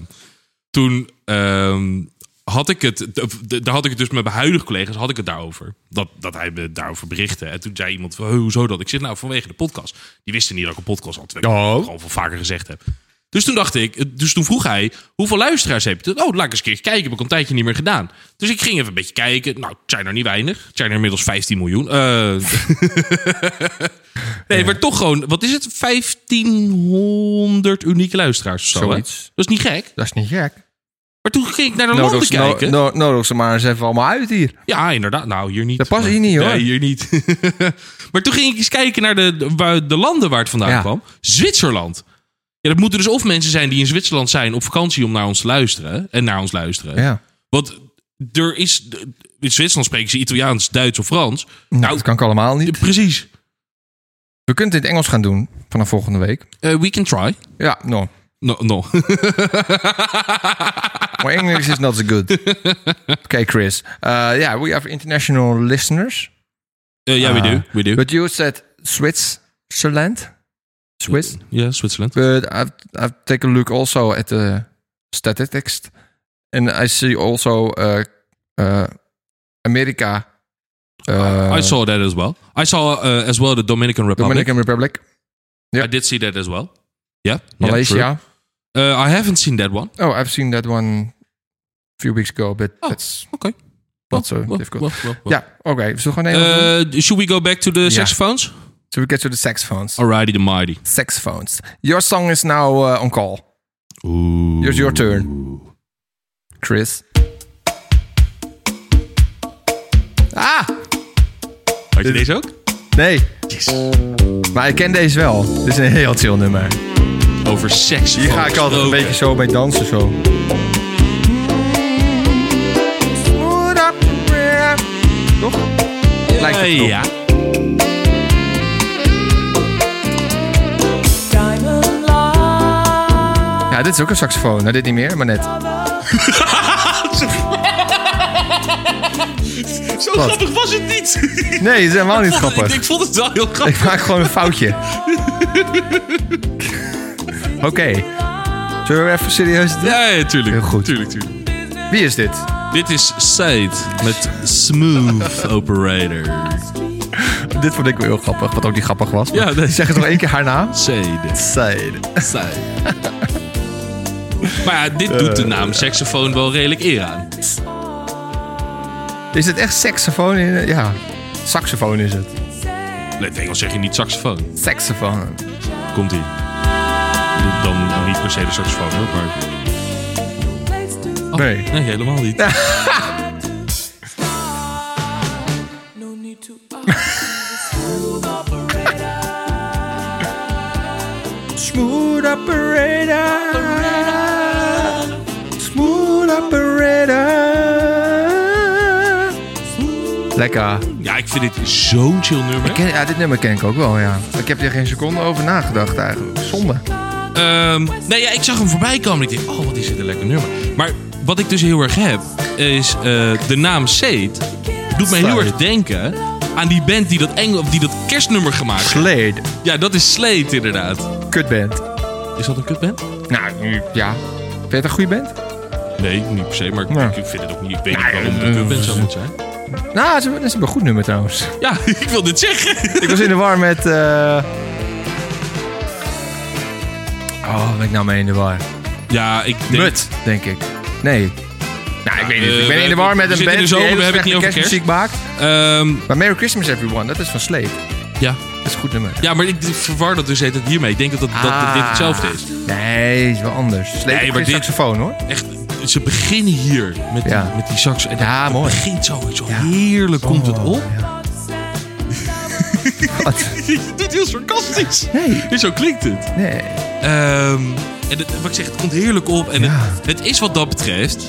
[SPEAKER 2] toen ehm, had ik het, d- d- daar had ik het dus met mijn huidige collega's had ik het daarover. Dat, dat hij me daarover berichtte. En toen zei iemand, van, "Huh, hoezo dat? Ik zeg, nou, vanwege de podcast. Die wisten niet dat ik een podcast had. Terwijl ik
[SPEAKER 1] Oh.
[SPEAKER 2] het gewoon veel vaker gezegd heb. Dus toen dacht ik, dus toen vroeg hij, hoeveel luisteraars heb je? Toen, Oh, laat ik eens een keer kijken, heb ik al een tijdje niet meer gedaan. Dus ik ging even een beetje kijken. Nou, het zijn er niet weinig. Het zijn er inmiddels 15 miljoen. Eh, nee, maar toch gewoon, wat is het? 1500 unieke luisteraars of zo, hè?
[SPEAKER 1] Zoiets.
[SPEAKER 2] Dat is niet gek.
[SPEAKER 1] dat is niet gek.
[SPEAKER 2] Maar toen ging ik naar de
[SPEAKER 1] Nodig
[SPEAKER 2] landen
[SPEAKER 1] ze, no,
[SPEAKER 2] kijken.
[SPEAKER 1] no- nodig ze maar eens even allemaal uit hier.
[SPEAKER 2] Ja, inderdaad. Nou, hier niet.
[SPEAKER 1] Dat past
[SPEAKER 2] Maar-
[SPEAKER 1] hier niet, hoor.
[SPEAKER 2] Nee, hier niet. maar toen ging ik eens kijken naar de, de, waar- de landen waar het vandaan
[SPEAKER 1] Ja.
[SPEAKER 2] kwam. Zwitserland. Ja, dat moeten dus of mensen zijn die in Zwitserland zijn op vakantie om naar ons te luisteren. En naar ons luisteren.
[SPEAKER 1] Ja. Nou,
[SPEAKER 2] Want er is... In Zwitserland spreken ze Italiaans, Duits of Frans.
[SPEAKER 1] Nou, dat kan ik allemaal niet.
[SPEAKER 2] Precies.
[SPEAKER 1] We kunnen het in het Engels gaan doen vanaf volgende week.
[SPEAKER 2] Eh, we can try.
[SPEAKER 1] Ja, no.
[SPEAKER 2] No, no.
[SPEAKER 1] Maar Engels is not so good. Oké, Chris. Uh, yeah, we have international listeners.
[SPEAKER 2] Eh, ja, we
[SPEAKER 1] Ah.
[SPEAKER 2] do. We do.
[SPEAKER 1] But you said Switzerland? Swiss?
[SPEAKER 2] Ja, Zwitserland.
[SPEAKER 1] But I've, I've taken a look also at the statistics. And I see also uh, uh, America. Uh,
[SPEAKER 2] I saw that as well. I saw eh, as well the Dominican Republic.
[SPEAKER 1] Dominican Republic. yeah.
[SPEAKER 2] I did see that as well. Yeah. yeah,
[SPEAKER 1] Malaysia.
[SPEAKER 2] true. Eh, I haven't seen that one.
[SPEAKER 1] Oh, I've seen that one a few weeks ago, but
[SPEAKER 2] Oh,
[SPEAKER 1] that's
[SPEAKER 2] okay.
[SPEAKER 1] Not so
[SPEAKER 2] Wow,
[SPEAKER 1] difficult.
[SPEAKER 2] wow, wow, wow.
[SPEAKER 1] Ja, oké. Zullen we gewoon Nederlands doen?
[SPEAKER 2] Eh, should we go back to the saxophones?
[SPEAKER 1] Zullen we get to the saxophones?
[SPEAKER 2] Alrighty, the mighty.
[SPEAKER 1] Saxophones. Your song is now eh, on call.
[SPEAKER 2] Oeh.
[SPEAKER 1] It's your turn. Chris. Ah!
[SPEAKER 2] Had je deze ook?
[SPEAKER 1] Nee. Maar ik ken deze wel. Dit is een heel chill nummer.
[SPEAKER 2] Over seks.
[SPEAKER 1] Hier ga ik altijd een beetje zo mee dansen. Zo. Toch? Lijkt het erop.
[SPEAKER 2] ja.
[SPEAKER 4] Diamond light.
[SPEAKER 1] Ja, dit is ook een saxofoon. Nou, dit niet meer, maar net.
[SPEAKER 2] Zo
[SPEAKER 1] Wat?
[SPEAKER 2] grappig was het niet.
[SPEAKER 1] Nee, het is helemaal niet
[SPEAKER 2] ik,
[SPEAKER 1] grappig.
[SPEAKER 2] ik vond het wel heel grappig.
[SPEAKER 1] Ik maak gewoon een foutje. Oké. Zullen we even serieus doen?
[SPEAKER 2] Ja, ja, tuurlijk.
[SPEAKER 1] Heel goed.
[SPEAKER 2] Tuurlijk, tuurlijk.
[SPEAKER 1] Wie is dit?
[SPEAKER 2] Dit is Said met Smooth Operator.
[SPEAKER 1] Dit vond ik wel heel grappig, wat ook niet grappig was. maar
[SPEAKER 2] Ja, nee.
[SPEAKER 1] Zeg het nog één keer haar naam.
[SPEAKER 2] Said.
[SPEAKER 1] Side.
[SPEAKER 2] Said. maar ja, dit doet de naam
[SPEAKER 1] Eh.
[SPEAKER 2] saxofoon wel redelijk eer aan.
[SPEAKER 1] Is het echt saxofoon? In, ja, saxofoon is het.
[SPEAKER 2] Nee, in het Engels zeg je niet saxofoon.
[SPEAKER 1] Saxofoon.
[SPEAKER 2] Komt-ie. Dan niet per se de saxofoon, hoor. Maar... Oh,
[SPEAKER 4] Place to
[SPEAKER 1] Nee.
[SPEAKER 2] Nee, helemaal niet.
[SPEAKER 4] No need to ask. Smooth operator.
[SPEAKER 1] Smooth operator. Smooth operator. Lekker.
[SPEAKER 2] Ja, ik vind dit zo'n chill nummer.
[SPEAKER 1] Ken- ja, dit nummer ken ik ook wel, ja. Ik heb er geen seconde over nagedacht eigenlijk. Zonde.
[SPEAKER 2] Ehm, nee, ja, ik zag hem voorbij komen. Ik dacht, oh, wat is dit een lekker nummer. Maar wat ik dus heel erg heb, is eh, de naam Seed. Doet mij heel
[SPEAKER 1] Slade.
[SPEAKER 2] erg denken aan die band die dat, Engel, of die dat kerstnummer gemaakt heeft.
[SPEAKER 1] Slade.
[SPEAKER 2] Ja, dat is Slade inderdaad.
[SPEAKER 1] Kutband.
[SPEAKER 2] Is dat een kutband?
[SPEAKER 1] Nou, nu- ja. Vind je het een goede band?
[SPEAKER 2] Nee, niet per se. Maar ik-
[SPEAKER 1] Nee. eh,
[SPEAKER 2] ik, vind het ook niet. Ik weet niet waarom het een kutband zou moeten zijn.
[SPEAKER 1] Nou, dat is een- dat is een goed nummer trouwens.
[SPEAKER 2] Ja, ik wil dit zeggen.
[SPEAKER 1] Ik was in de war met. eh Oh, ben ik nou mee in de war?
[SPEAKER 2] Ja, ik denk...
[SPEAKER 1] Mut, denk ik. Nee. Nou, ik weet niet. Ik
[SPEAKER 2] eh,
[SPEAKER 1] ben in de war met
[SPEAKER 2] we
[SPEAKER 1] een
[SPEAKER 2] zitten in de
[SPEAKER 1] band die
[SPEAKER 2] zomer,
[SPEAKER 1] hele
[SPEAKER 2] we hebben
[SPEAKER 1] slechte
[SPEAKER 2] het niet over
[SPEAKER 1] kerstmuziek maakt.
[SPEAKER 2] Ehm,
[SPEAKER 1] Maar Merry Christmas Everyone, dat is van Slade.
[SPEAKER 2] ja.
[SPEAKER 1] Dat is een goed nummer.
[SPEAKER 2] ja, maar ik verwar dat dus heet het hiermee. Ik denk dat, dat, dat dit
[SPEAKER 1] Ah.
[SPEAKER 2] hetzelfde is.
[SPEAKER 1] Nee, is wel anders. Slade
[SPEAKER 2] Nee,
[SPEAKER 1] heeft
[SPEAKER 2] maar
[SPEAKER 1] geen
[SPEAKER 2] dit-
[SPEAKER 1] saxofoon hoor.
[SPEAKER 2] Echt, ze beginnen hier met,
[SPEAKER 1] Ja.
[SPEAKER 2] die, met die sax. En
[SPEAKER 1] Ja,
[SPEAKER 2] het
[SPEAKER 1] mooi.
[SPEAKER 2] begint zo, zo
[SPEAKER 1] Ja.
[SPEAKER 2] heerlijk komt het
[SPEAKER 1] Oh,
[SPEAKER 2] op.
[SPEAKER 1] ja. Wat?
[SPEAKER 2] Je doet heel sarcastisch.
[SPEAKER 1] Nee.
[SPEAKER 2] Zo klinkt het.
[SPEAKER 1] Nee.
[SPEAKER 2] Ehm, en het, wat ik zeg, het komt heerlijk op. En
[SPEAKER 1] Ja. Mhm.
[SPEAKER 2] het, het is wat dat betreft...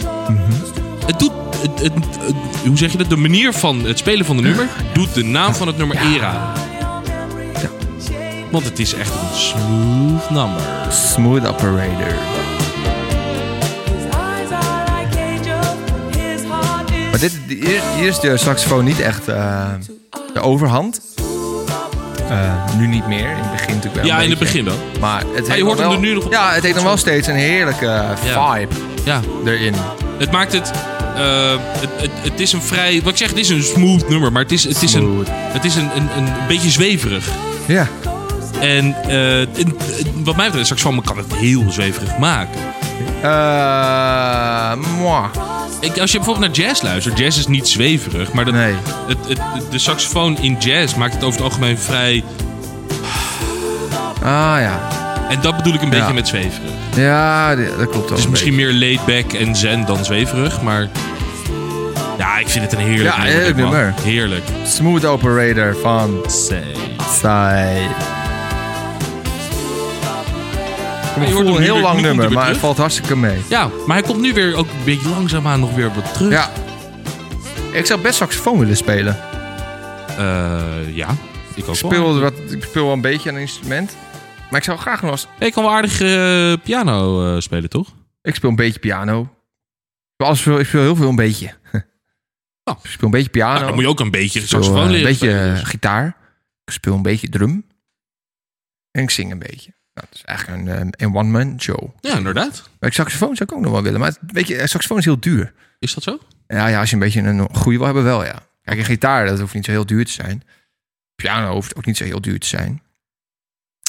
[SPEAKER 2] Het doet... Het, het- het- hoe zeg je dat? De manier van het spelen van de nummer... doet de naam van het nummer era. Want het is echt een smooth number.
[SPEAKER 1] Smooth Operator.
[SPEAKER 4] His eyes are like angels. His heart is
[SPEAKER 1] Maar dit, hier, hier is de saxofoon niet echt eh, de overhand. Eh, nu niet meer, in het begin natuurlijk wel.
[SPEAKER 2] Ja,
[SPEAKER 1] een
[SPEAKER 2] in het
[SPEAKER 1] beetje.
[SPEAKER 2] begin wel.
[SPEAKER 1] Maar het heeft
[SPEAKER 2] je hoort
[SPEAKER 1] nog
[SPEAKER 2] hem
[SPEAKER 1] wel-
[SPEAKER 2] er nu nog-
[SPEAKER 1] Ja, het heeft nog wel steeds een heerlijke eh, vibe
[SPEAKER 2] Ja.
[SPEAKER 1] erin.
[SPEAKER 2] Het maakt het, eh, het, het. Het is een vrij. Wat ik zeg, het is een smooth nummer, maar het is, het is, een,
[SPEAKER 1] Smooth.
[SPEAKER 2] het is een, een, een beetje zweverig.
[SPEAKER 1] Ja,
[SPEAKER 2] En eh, in- in- wat mij betreft, straks van me kan het heel zweverig maken.
[SPEAKER 1] Eh moi.
[SPEAKER 2] Ik, als je bijvoorbeeld naar jazz luistert, jazz is niet zweverig, maar dat,
[SPEAKER 1] Nee.
[SPEAKER 2] het, het, de saxofoon in jazz maakt het over het algemeen vrij.
[SPEAKER 1] Ah ja.
[SPEAKER 2] En dat bedoel ik een
[SPEAKER 1] Ja.
[SPEAKER 2] beetje met zweverig. Het
[SPEAKER 1] Ja, di- dat klopt wel.
[SPEAKER 2] is
[SPEAKER 1] een
[SPEAKER 2] misschien meer laid back en zen dan zweverig, maar. Ja, ik vind het een heerlijk
[SPEAKER 1] Ja,
[SPEAKER 2] nummer.
[SPEAKER 1] heerlijk
[SPEAKER 2] man.
[SPEAKER 1] nummer.
[SPEAKER 2] Heerlijk.
[SPEAKER 1] beetje. Smooth Operator van
[SPEAKER 2] Say.
[SPEAKER 1] Sai.
[SPEAKER 2] Maar je
[SPEAKER 1] Ik
[SPEAKER 2] hoort
[SPEAKER 1] voel
[SPEAKER 2] hem
[SPEAKER 1] een
[SPEAKER 2] nu
[SPEAKER 1] heel
[SPEAKER 2] weer- nu
[SPEAKER 1] lang
[SPEAKER 2] komt hij
[SPEAKER 1] nummer,
[SPEAKER 2] weer
[SPEAKER 1] maar het
[SPEAKER 2] terug.
[SPEAKER 1] valt hartstikke mee.
[SPEAKER 2] Ja, maar hij komt nu weer ook een beetje langzaamaan nog weer wat terug.
[SPEAKER 1] Ja. Ik zou best saxofoon willen spelen.
[SPEAKER 2] Eh, ja, ik ook
[SPEAKER 1] Ik
[SPEAKER 2] wel.
[SPEAKER 1] speel, wat, ik speel wel een beetje aan een instrument. Maar ik zou graag nog eens...
[SPEAKER 2] Ik kan wel aardig eh, piano eh, spelen, toch?
[SPEAKER 1] Ik speel een beetje piano. Ik speel, alles veel- ik speel heel veel een beetje.
[SPEAKER 2] Oh.
[SPEAKER 1] Ik speel een beetje piano.
[SPEAKER 2] Nou, dan moet je ook een beetje
[SPEAKER 1] ik speel, eh,
[SPEAKER 2] saxofoon
[SPEAKER 1] een
[SPEAKER 2] leren
[SPEAKER 1] beetje
[SPEAKER 2] spelen,
[SPEAKER 1] eh,
[SPEAKER 2] dus.
[SPEAKER 1] gitaar. Ik speel een beetje drum. En ik zing een beetje. Nou, dat is eigenlijk een, eh, een one-man show.
[SPEAKER 2] Ja, inderdaad.
[SPEAKER 1] Maar ik saxofoon zou ik ook nog wel willen. Maar het- weet je, eh, saxofoon is heel duur.
[SPEAKER 2] Is dat zo?
[SPEAKER 1] Ja, ja, als je een beetje een goede wil hebben, wel ja. Kijk, een gitaar, dat hoeft niet zo heel duur te zijn. Piano hoeft ook niet zo heel duur te zijn.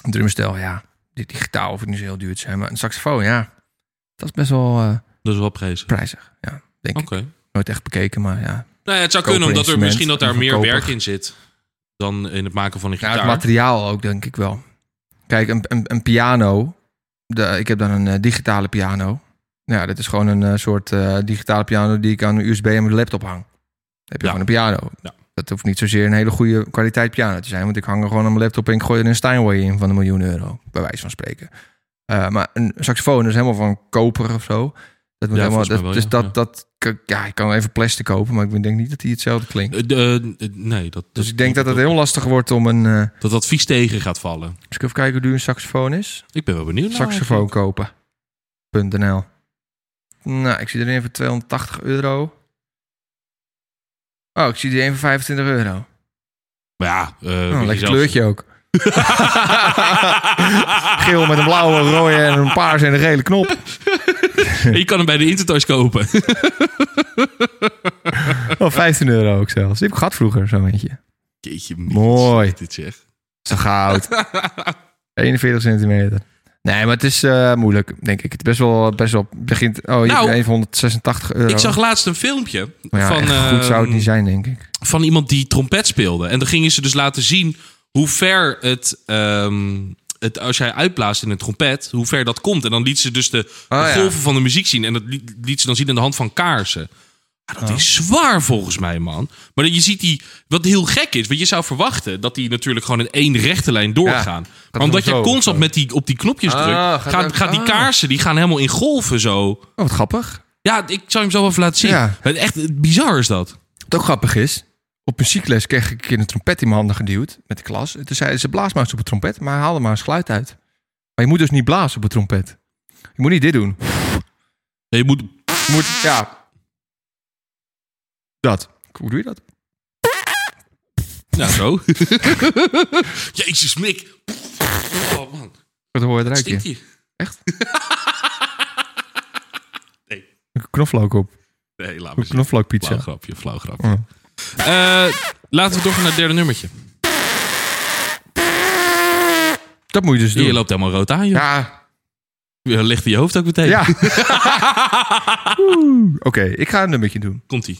[SPEAKER 1] Een drumstel, ja. Die, die gitaar hoeft niet zo heel duur te zijn. Maar een saxofoon, ja. Dat is best wel eh,
[SPEAKER 2] Dat is wel prijzig.
[SPEAKER 1] prijzig. Ja, denk
[SPEAKER 2] Oké.
[SPEAKER 1] ik. Nooit echt bekeken, maar ja.
[SPEAKER 2] Nou ja, het zou kunnen, omdat er
[SPEAKER 1] Koperinstrument,
[SPEAKER 2] misschien dat daar meer
[SPEAKER 1] goedkoper.
[SPEAKER 2] werk in zit dan in het maken van een
[SPEAKER 1] Ja, het
[SPEAKER 2] gitaar.
[SPEAKER 1] materiaal ook, denk ik wel. Kijk, een, een, een piano. De, ik heb dan een eh, digitale piano. Nou, ja, dit is gewoon een eh, soort eh, digitale piano die ik aan een USB en mijn laptop hang. Dan heb je
[SPEAKER 2] Ja.
[SPEAKER 1] gewoon een piano.
[SPEAKER 2] Ja.
[SPEAKER 1] Dat hoeft niet zozeer een hele goede kwaliteit piano te zijn. Want ik hang er gewoon aan mijn laptop en ik gooi er een Steinway in van een miljoen euro. Bij wijze van spreken. Eh, maar een saxofoon is helemaal van koper of zo. Dat moet
[SPEAKER 2] Ja,
[SPEAKER 1] helemaal,
[SPEAKER 2] volgens mij
[SPEAKER 1] dat,
[SPEAKER 2] wel,
[SPEAKER 1] dus
[SPEAKER 2] ja.
[SPEAKER 1] dat, dat, ja, ik kan even plastic kopen, maar ik denk niet dat die hetzelfde klinkt.
[SPEAKER 2] Eh, de- eh, nee, dat,
[SPEAKER 1] Dus ik denk dat het heel lastig wordt om een... eh,
[SPEAKER 2] dat dat vies tegen gaat vallen.
[SPEAKER 1] Eens even kijken hoe duur een saxofoon is.
[SPEAKER 2] Ik ben wel benieuwd. naar
[SPEAKER 1] Saxofoon kopen.nl. Nou, ik zie er een voor 280 euro. Oh, ik zie die een voor 25 euro.
[SPEAKER 2] Maar ja, eh,
[SPEAKER 1] Oh,
[SPEAKER 2] weet je
[SPEAKER 1] lekker
[SPEAKER 2] zelf.
[SPEAKER 1] kleurtje ook. Geel met een blauwe, een rode en een paarse en een gele knop.
[SPEAKER 2] Je kan hem bij de Intertoys kopen.
[SPEAKER 1] Oh, 15 euro ook zelfs. Die heb ik gehad vroeger, zo eentje.
[SPEAKER 2] Jeetje,
[SPEAKER 1] Mooi.
[SPEAKER 2] Dit zeg.
[SPEAKER 1] Zo goud. 41 centimeter. Nee, maar het is eh, moeilijk, denk ik. Het is best wel, best wel begint... Oh, je
[SPEAKER 2] Nou,
[SPEAKER 1] hebt een voor 186 euro.
[SPEAKER 2] Ik zag laatst een filmpje
[SPEAKER 1] maar ja,
[SPEAKER 2] van,
[SPEAKER 1] echt goed zou het
[SPEAKER 2] ehm,
[SPEAKER 1] niet zijn, denk ik.
[SPEAKER 2] van iemand die trompet speelde. En dan gingen ze dus laten zien hoe ver het, ehm, het als jij uitblaast in een trompet, hoe ver dat komt. En dan liet ze dus de, de
[SPEAKER 1] Oh, ja.
[SPEAKER 2] golven van de muziek zien. En dat liet, liet ze dan zien aan de hand van kaarsen. Ah, dat
[SPEAKER 1] Oh.
[SPEAKER 2] is zwaar volgens mij, man. Maar je ziet die, wat heel gek is, want je zou verwachten dat die natuurlijk gewoon in één rechte lijn doorgaan. maar omdat je
[SPEAKER 1] gewoon zo,
[SPEAKER 2] constant
[SPEAKER 1] zo.
[SPEAKER 2] met die, op die knopjes
[SPEAKER 1] Ah,
[SPEAKER 2] drukt,
[SPEAKER 1] gaat
[SPEAKER 2] gaat,
[SPEAKER 1] ook-
[SPEAKER 2] gaat, die
[SPEAKER 1] ah.
[SPEAKER 2] kaarsen die gaan helemaal in golven zo.
[SPEAKER 1] Oh, wat grappig.
[SPEAKER 2] Ja, ik zal hem zo wel even laten zien.
[SPEAKER 1] Ja.
[SPEAKER 2] Het Echt bizar is dat.
[SPEAKER 1] Wat ook grappig is, op muziekles kreeg ik een keer een trompet in mijn handen geduwd met de klas. En Toen zeiden ze, blaas maar eens op een trompet, maar haal er maar eens geluid uit. Maar je moet dus niet blazen op een trompet. Je moet niet dit doen.
[SPEAKER 2] Je moet
[SPEAKER 1] Je moet, ja. Dat. Hoe doe je dat?
[SPEAKER 2] Nou, zo. Jezus, Mick. Oh, man.
[SPEAKER 1] Wat hoor je eruit?
[SPEAKER 2] Stinkt
[SPEAKER 1] Je?
[SPEAKER 2] die?
[SPEAKER 1] Knoflook op.
[SPEAKER 2] Nee, laat
[SPEAKER 1] Een
[SPEAKER 2] maar zitten. Flauw
[SPEAKER 1] knoflookpizza.
[SPEAKER 2] grapje, flauw grapje.
[SPEAKER 1] Mm.
[SPEAKER 2] Eh, laten we doorgaan naar het derde nummertje.
[SPEAKER 1] Dat moet je dus
[SPEAKER 2] Je
[SPEAKER 1] doen.
[SPEAKER 2] loopt helemaal rood aan, joh.
[SPEAKER 1] Ja.
[SPEAKER 2] Je ligt in je hoofd ook meteen.
[SPEAKER 1] Ja. Oeh. Oké, ik ga een nummertje doen.
[SPEAKER 2] Komt-ie.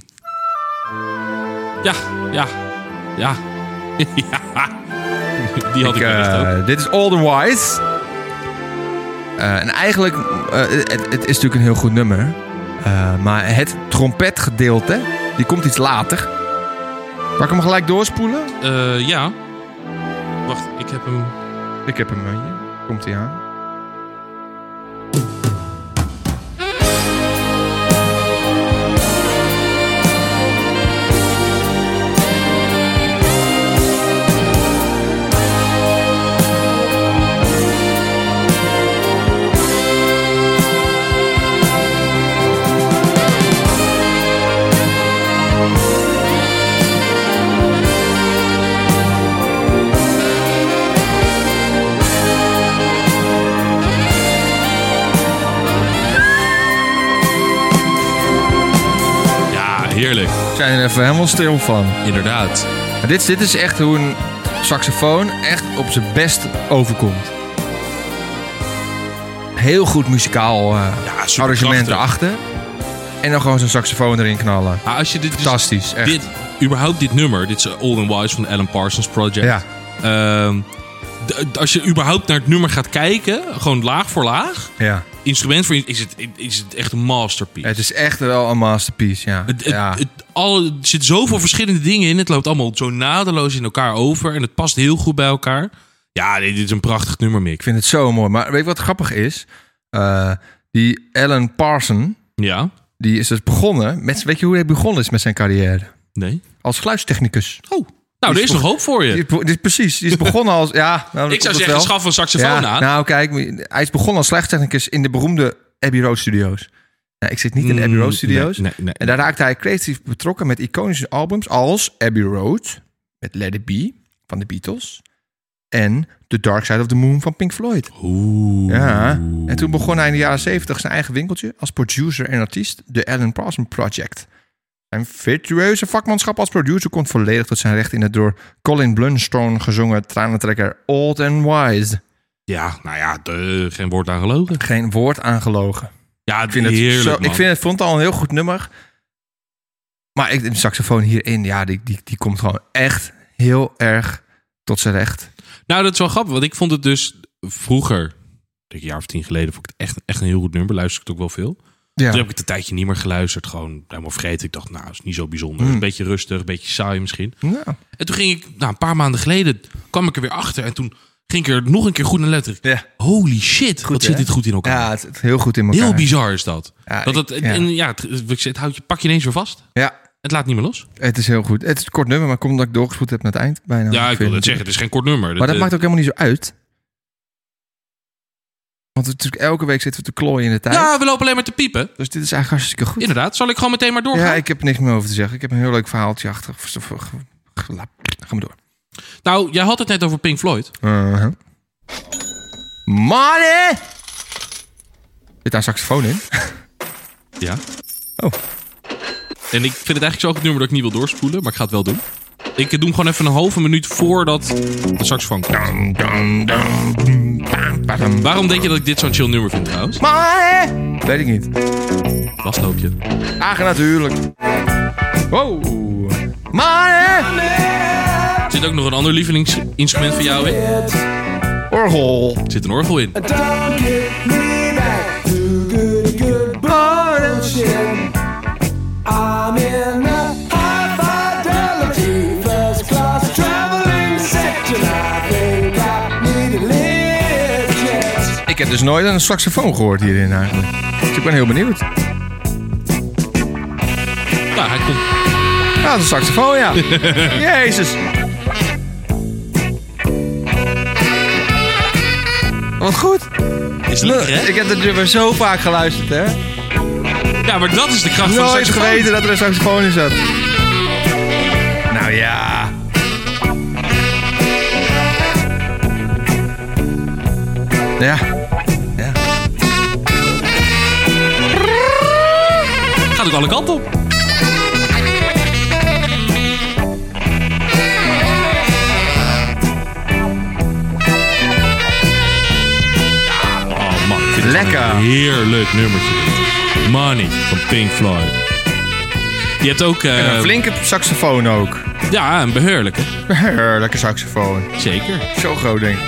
[SPEAKER 2] Ja, ja, ja. ja. Die had ik,
[SPEAKER 1] Ik,
[SPEAKER 2] wellicht
[SPEAKER 1] eh,
[SPEAKER 2] ook.
[SPEAKER 1] dit is Olden Wise. Eh, en eigenlijk, eh, het, het is natuurlijk een heel goed nummer. Eh, maar het trompetgedeelte, die komt iets later. Mag ik hem gelijk doorspoelen?
[SPEAKER 2] Eh, ja. Wacht, ik heb hem...
[SPEAKER 1] Ik heb hem eh, hier. Komt hij aan.
[SPEAKER 2] Ja, heerlijk.
[SPEAKER 1] We zijn er even helemaal stil van.
[SPEAKER 2] Inderdaad.
[SPEAKER 1] Maar dit, dit is echt hoe een saxofoon echt op zijn best overkomt. Heel goed muzikaal eh
[SPEAKER 2] Ja, superkrachtig.
[SPEAKER 1] arrangement erachter. En dan gewoon zo'n saxofoon erin knallen.
[SPEAKER 2] Maar als je dit dus-
[SPEAKER 1] Fantastisch, echt.
[SPEAKER 2] Dit, überhaupt dit nummer, dit is eh, Old and Wise van de Alan Parsons Project.
[SPEAKER 1] Ja.
[SPEAKER 2] Ehm, d- als je überhaupt naar het nummer gaat kijken, gewoon laag voor laag,
[SPEAKER 1] ja.
[SPEAKER 2] instrument voor in- is het, is het echt een masterpiece.
[SPEAKER 1] Het is echt wel een masterpiece, ja.
[SPEAKER 2] Het- het-
[SPEAKER 1] ja.
[SPEAKER 2] het- al, er zitten zoveel verschillende dingen in. Het loopt allemaal zo nadeloos in elkaar over. En het past heel goed bij elkaar. Ja, dit is een prachtig nummer, Mick.
[SPEAKER 1] ik vind het zo mooi. Maar weet je wat grappig is? Eh, die Alan Parson,
[SPEAKER 2] Ja?
[SPEAKER 1] die is dus begonnen... Met, weet je hoe hij begonnen is met zijn carrière?
[SPEAKER 2] Nee?
[SPEAKER 1] Als geluidstechnicus.
[SPEAKER 2] Oh, nou, er is nog hoop voor
[SPEAKER 1] Die
[SPEAKER 2] je.
[SPEAKER 1] is be- die is precies, die is begonnen als... Ja, nou,
[SPEAKER 2] Ik zou
[SPEAKER 1] dat
[SPEAKER 2] zeggen,
[SPEAKER 1] wel.
[SPEAKER 2] schaf een saxofoon
[SPEAKER 1] ja,
[SPEAKER 2] aan.
[SPEAKER 1] Nou, kijk, hij is begonnen als geluidstechnicus in de beroemde Abbey Road Studios. Nou, ik zit niet in de Abbey Road
[SPEAKER 2] Mm,
[SPEAKER 1] Studios.
[SPEAKER 2] nee, nee, nee.
[SPEAKER 1] En daar raakte hij creatief betrokken met iconische albums als Abbey Road, met Let It Be van de Beatles. En The Dark Side of the Moon van Pink Floyd.
[SPEAKER 2] Oeh.
[SPEAKER 1] Ja. En toen begon hij in de jaren 70 zijn eigen winkeltje als producer en artiest, de Alan Parsons Project. Zijn virtueuze vakmanschap als producer komt volledig tot zijn recht in het door Colin Blunstone gezongen tranentrekker Old and Wise.
[SPEAKER 2] Ja, nou ja, de, geen woord aan gelogen.
[SPEAKER 1] Geen woord aan gelogen.
[SPEAKER 2] Ja,
[SPEAKER 1] Ik vind het,
[SPEAKER 2] heerlijk,
[SPEAKER 1] zo,
[SPEAKER 2] man.
[SPEAKER 1] ik vind het vond het al een heel goed nummer. Maar ik, de saxofoon hierin, ja, die, die, die komt gewoon echt heel erg tot zijn recht.
[SPEAKER 2] Nou, dat is wel grappig, want ik vond het dus vroeger, ik denk een jaar of tien geleden, vond ik het echt, echt een heel goed nummer. Luister ik het ook wel veel.
[SPEAKER 1] Ja.
[SPEAKER 2] Toen heb ik het een tijdje niet meer geluisterd. Gewoon helemaal vergeten. Ik dacht, nou, is niet zo bijzonder.
[SPEAKER 1] Hmm.
[SPEAKER 2] Is Een beetje rustig, een beetje saai misschien.
[SPEAKER 1] Ja.
[SPEAKER 2] En toen ging ik, nou, een paar maanden geleden kwam ik er weer achter. En toen ging ik er nog een keer goed naar letteren.
[SPEAKER 1] Ja.
[SPEAKER 2] Holy shit, wat
[SPEAKER 1] hè?
[SPEAKER 2] zit dit goed in elkaar.
[SPEAKER 1] Ja, het, het heel goed in elkaar.
[SPEAKER 2] Heel bizar is dat.
[SPEAKER 1] Ja,
[SPEAKER 2] dat het,
[SPEAKER 1] ik- ja.
[SPEAKER 2] En ja, het, het- het houdt je, pak je ineens weer vast.
[SPEAKER 1] Ja,
[SPEAKER 2] Het laat niet meer los.
[SPEAKER 1] het is heel goed. Het is een kort nummer, maar komt dat ik doorgespoed heb naar het eind bijna.
[SPEAKER 2] ja, ik
[SPEAKER 1] vind
[SPEAKER 2] wil het
[SPEAKER 1] het-
[SPEAKER 2] zeggen, het is geen kort nummer.
[SPEAKER 1] Maar dat
[SPEAKER 2] eh,
[SPEAKER 1] maakt ook helemaal niet zo uit. Want het- natuurlijk elke week zitten we te klooien in de tijd.
[SPEAKER 2] Ja, we lopen alleen maar te piepen.
[SPEAKER 1] Dus dit is eigenlijk hartstikke goed.
[SPEAKER 2] Inderdaad, zal ik gewoon meteen maar doorgaan?
[SPEAKER 1] Ja, ik heb er niks meer over te zeggen. Ik heb een heel leuk verhaaltje achter. Of- of- of- la- Ga maar door.
[SPEAKER 2] Nou, jij had het net over Pink Floyd.
[SPEAKER 1] Uh-huh. Money! Zit daar een saxofoon in?
[SPEAKER 2] Ja.
[SPEAKER 1] Oh.
[SPEAKER 2] En ik vind het eigenlijk zo goed nummer dat ik niet wil doorspoelen, maar ik ga het wel doen. Ik doe hem gewoon even een halve minuut voordat de saxofoon komt.
[SPEAKER 1] Dum, dum, dum, dum, bam, badum.
[SPEAKER 2] Waarom denk je dat ik dit zo'n chill nummer vind trouwens?
[SPEAKER 1] Money! Weet ik niet.
[SPEAKER 2] Vastloopje.
[SPEAKER 1] Ach, natuurlijk. Wow. Money!
[SPEAKER 2] Er zit ook nog een ander lievelingsinstrument van jou in. Er
[SPEAKER 1] Orgel.
[SPEAKER 2] zit een orgel in.
[SPEAKER 3] Don't get me back to good, good bullshit. I'm in a high fidelity first class traveling section. I think I need a lift, yes.
[SPEAKER 1] Ik heb dus nooit een saxofoon gehoord hierin eigenlijk. Dus ik ben heel benieuwd.
[SPEAKER 2] Nou, hij komt.
[SPEAKER 1] Ja, dat is een saxofoon, ja. Jezus. Wat goed.
[SPEAKER 2] Is leuk, hè?
[SPEAKER 1] Ik heb dit nummer zo vaak geluisterd, hè.
[SPEAKER 2] Ja, maar dat is de kracht van de
[SPEAKER 1] Nooit
[SPEAKER 2] saxofoon.
[SPEAKER 1] geweten dat er een saxofoon in zat. Nou ja. Ja. Ja.
[SPEAKER 2] Gaat ook alle kanten op. Oh man, ik vind het
[SPEAKER 1] Lekker.
[SPEAKER 2] een heerlijk nummertje. Money van Pink Floyd. Je hebt ook... eh,
[SPEAKER 1] En een flinke saxofoon ook.
[SPEAKER 2] Ja, een beheerlijke.
[SPEAKER 1] Lekker saxofoon.
[SPEAKER 2] Zeker.
[SPEAKER 1] Zo groot ding.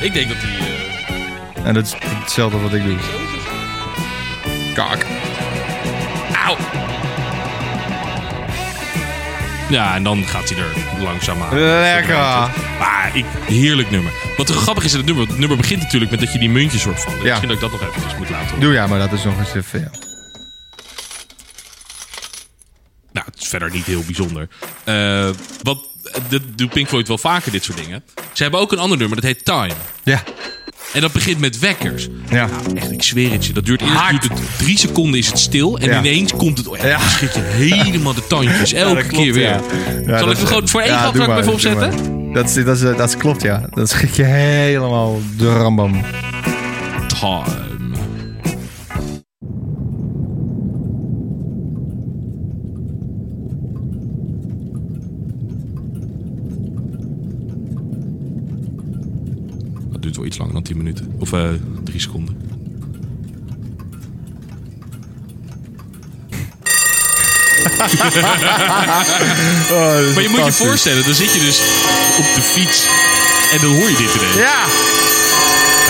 [SPEAKER 2] Ik denk dat die... eh,
[SPEAKER 1] En dat is hetzelfde wat ik doe. Kak.
[SPEAKER 2] Auw. Ja, en dan gaat hij er langzaam aan.
[SPEAKER 1] Lekker.
[SPEAKER 2] Maar ik, heerlijk nummer. Wat er grappig is aan het nummer, het nummer begint natuurlijk met dat je die muntjes hoort vallen.
[SPEAKER 1] Ja.
[SPEAKER 2] Misschien dat ik dat nog even moet laten horen.
[SPEAKER 1] Doe ja, maar dat is nog eens te veel.
[SPEAKER 2] Nou, het is verder niet heel bijzonder. Eh, wat, dat doet Pink Floyd wel vaker, dit soort dingen. Ze hebben ook een ander nummer, dat heet Time.
[SPEAKER 1] Ja.
[SPEAKER 2] En dat begint met wekkers.
[SPEAKER 1] Ja.
[SPEAKER 2] Nou, echt, ik zweer het je. Dat duurt eerst
[SPEAKER 1] Hard.
[SPEAKER 2] duurt het drie seconden is het stil. En
[SPEAKER 1] Ja.
[SPEAKER 2] ineens komt het... Oh, ja,
[SPEAKER 1] Ja.
[SPEAKER 2] dan schiet je helemaal de tandjes. Elke
[SPEAKER 1] dat klopt,
[SPEAKER 2] keer weer.
[SPEAKER 1] ja. Ja,
[SPEAKER 2] Zal
[SPEAKER 1] dat
[SPEAKER 2] ik er
[SPEAKER 1] is-
[SPEAKER 2] gewoon voor één
[SPEAKER 1] ja,
[SPEAKER 2] grap
[SPEAKER 1] doe
[SPEAKER 2] er ook
[SPEAKER 1] maar,
[SPEAKER 2] even op
[SPEAKER 1] doe
[SPEAKER 2] zetten?
[SPEAKER 1] maar. Dat, is, dat, is, dat is- klopt, ja. Dat schrik je helemaal de rambam.
[SPEAKER 2] Time. Dat duurt wel iets langer dan 10 minuten. Of eh 3 seconden. Maar je moet je voorstellen, dan zit je dus op de fiets en dan hoor je dit ineens.
[SPEAKER 1] Ja!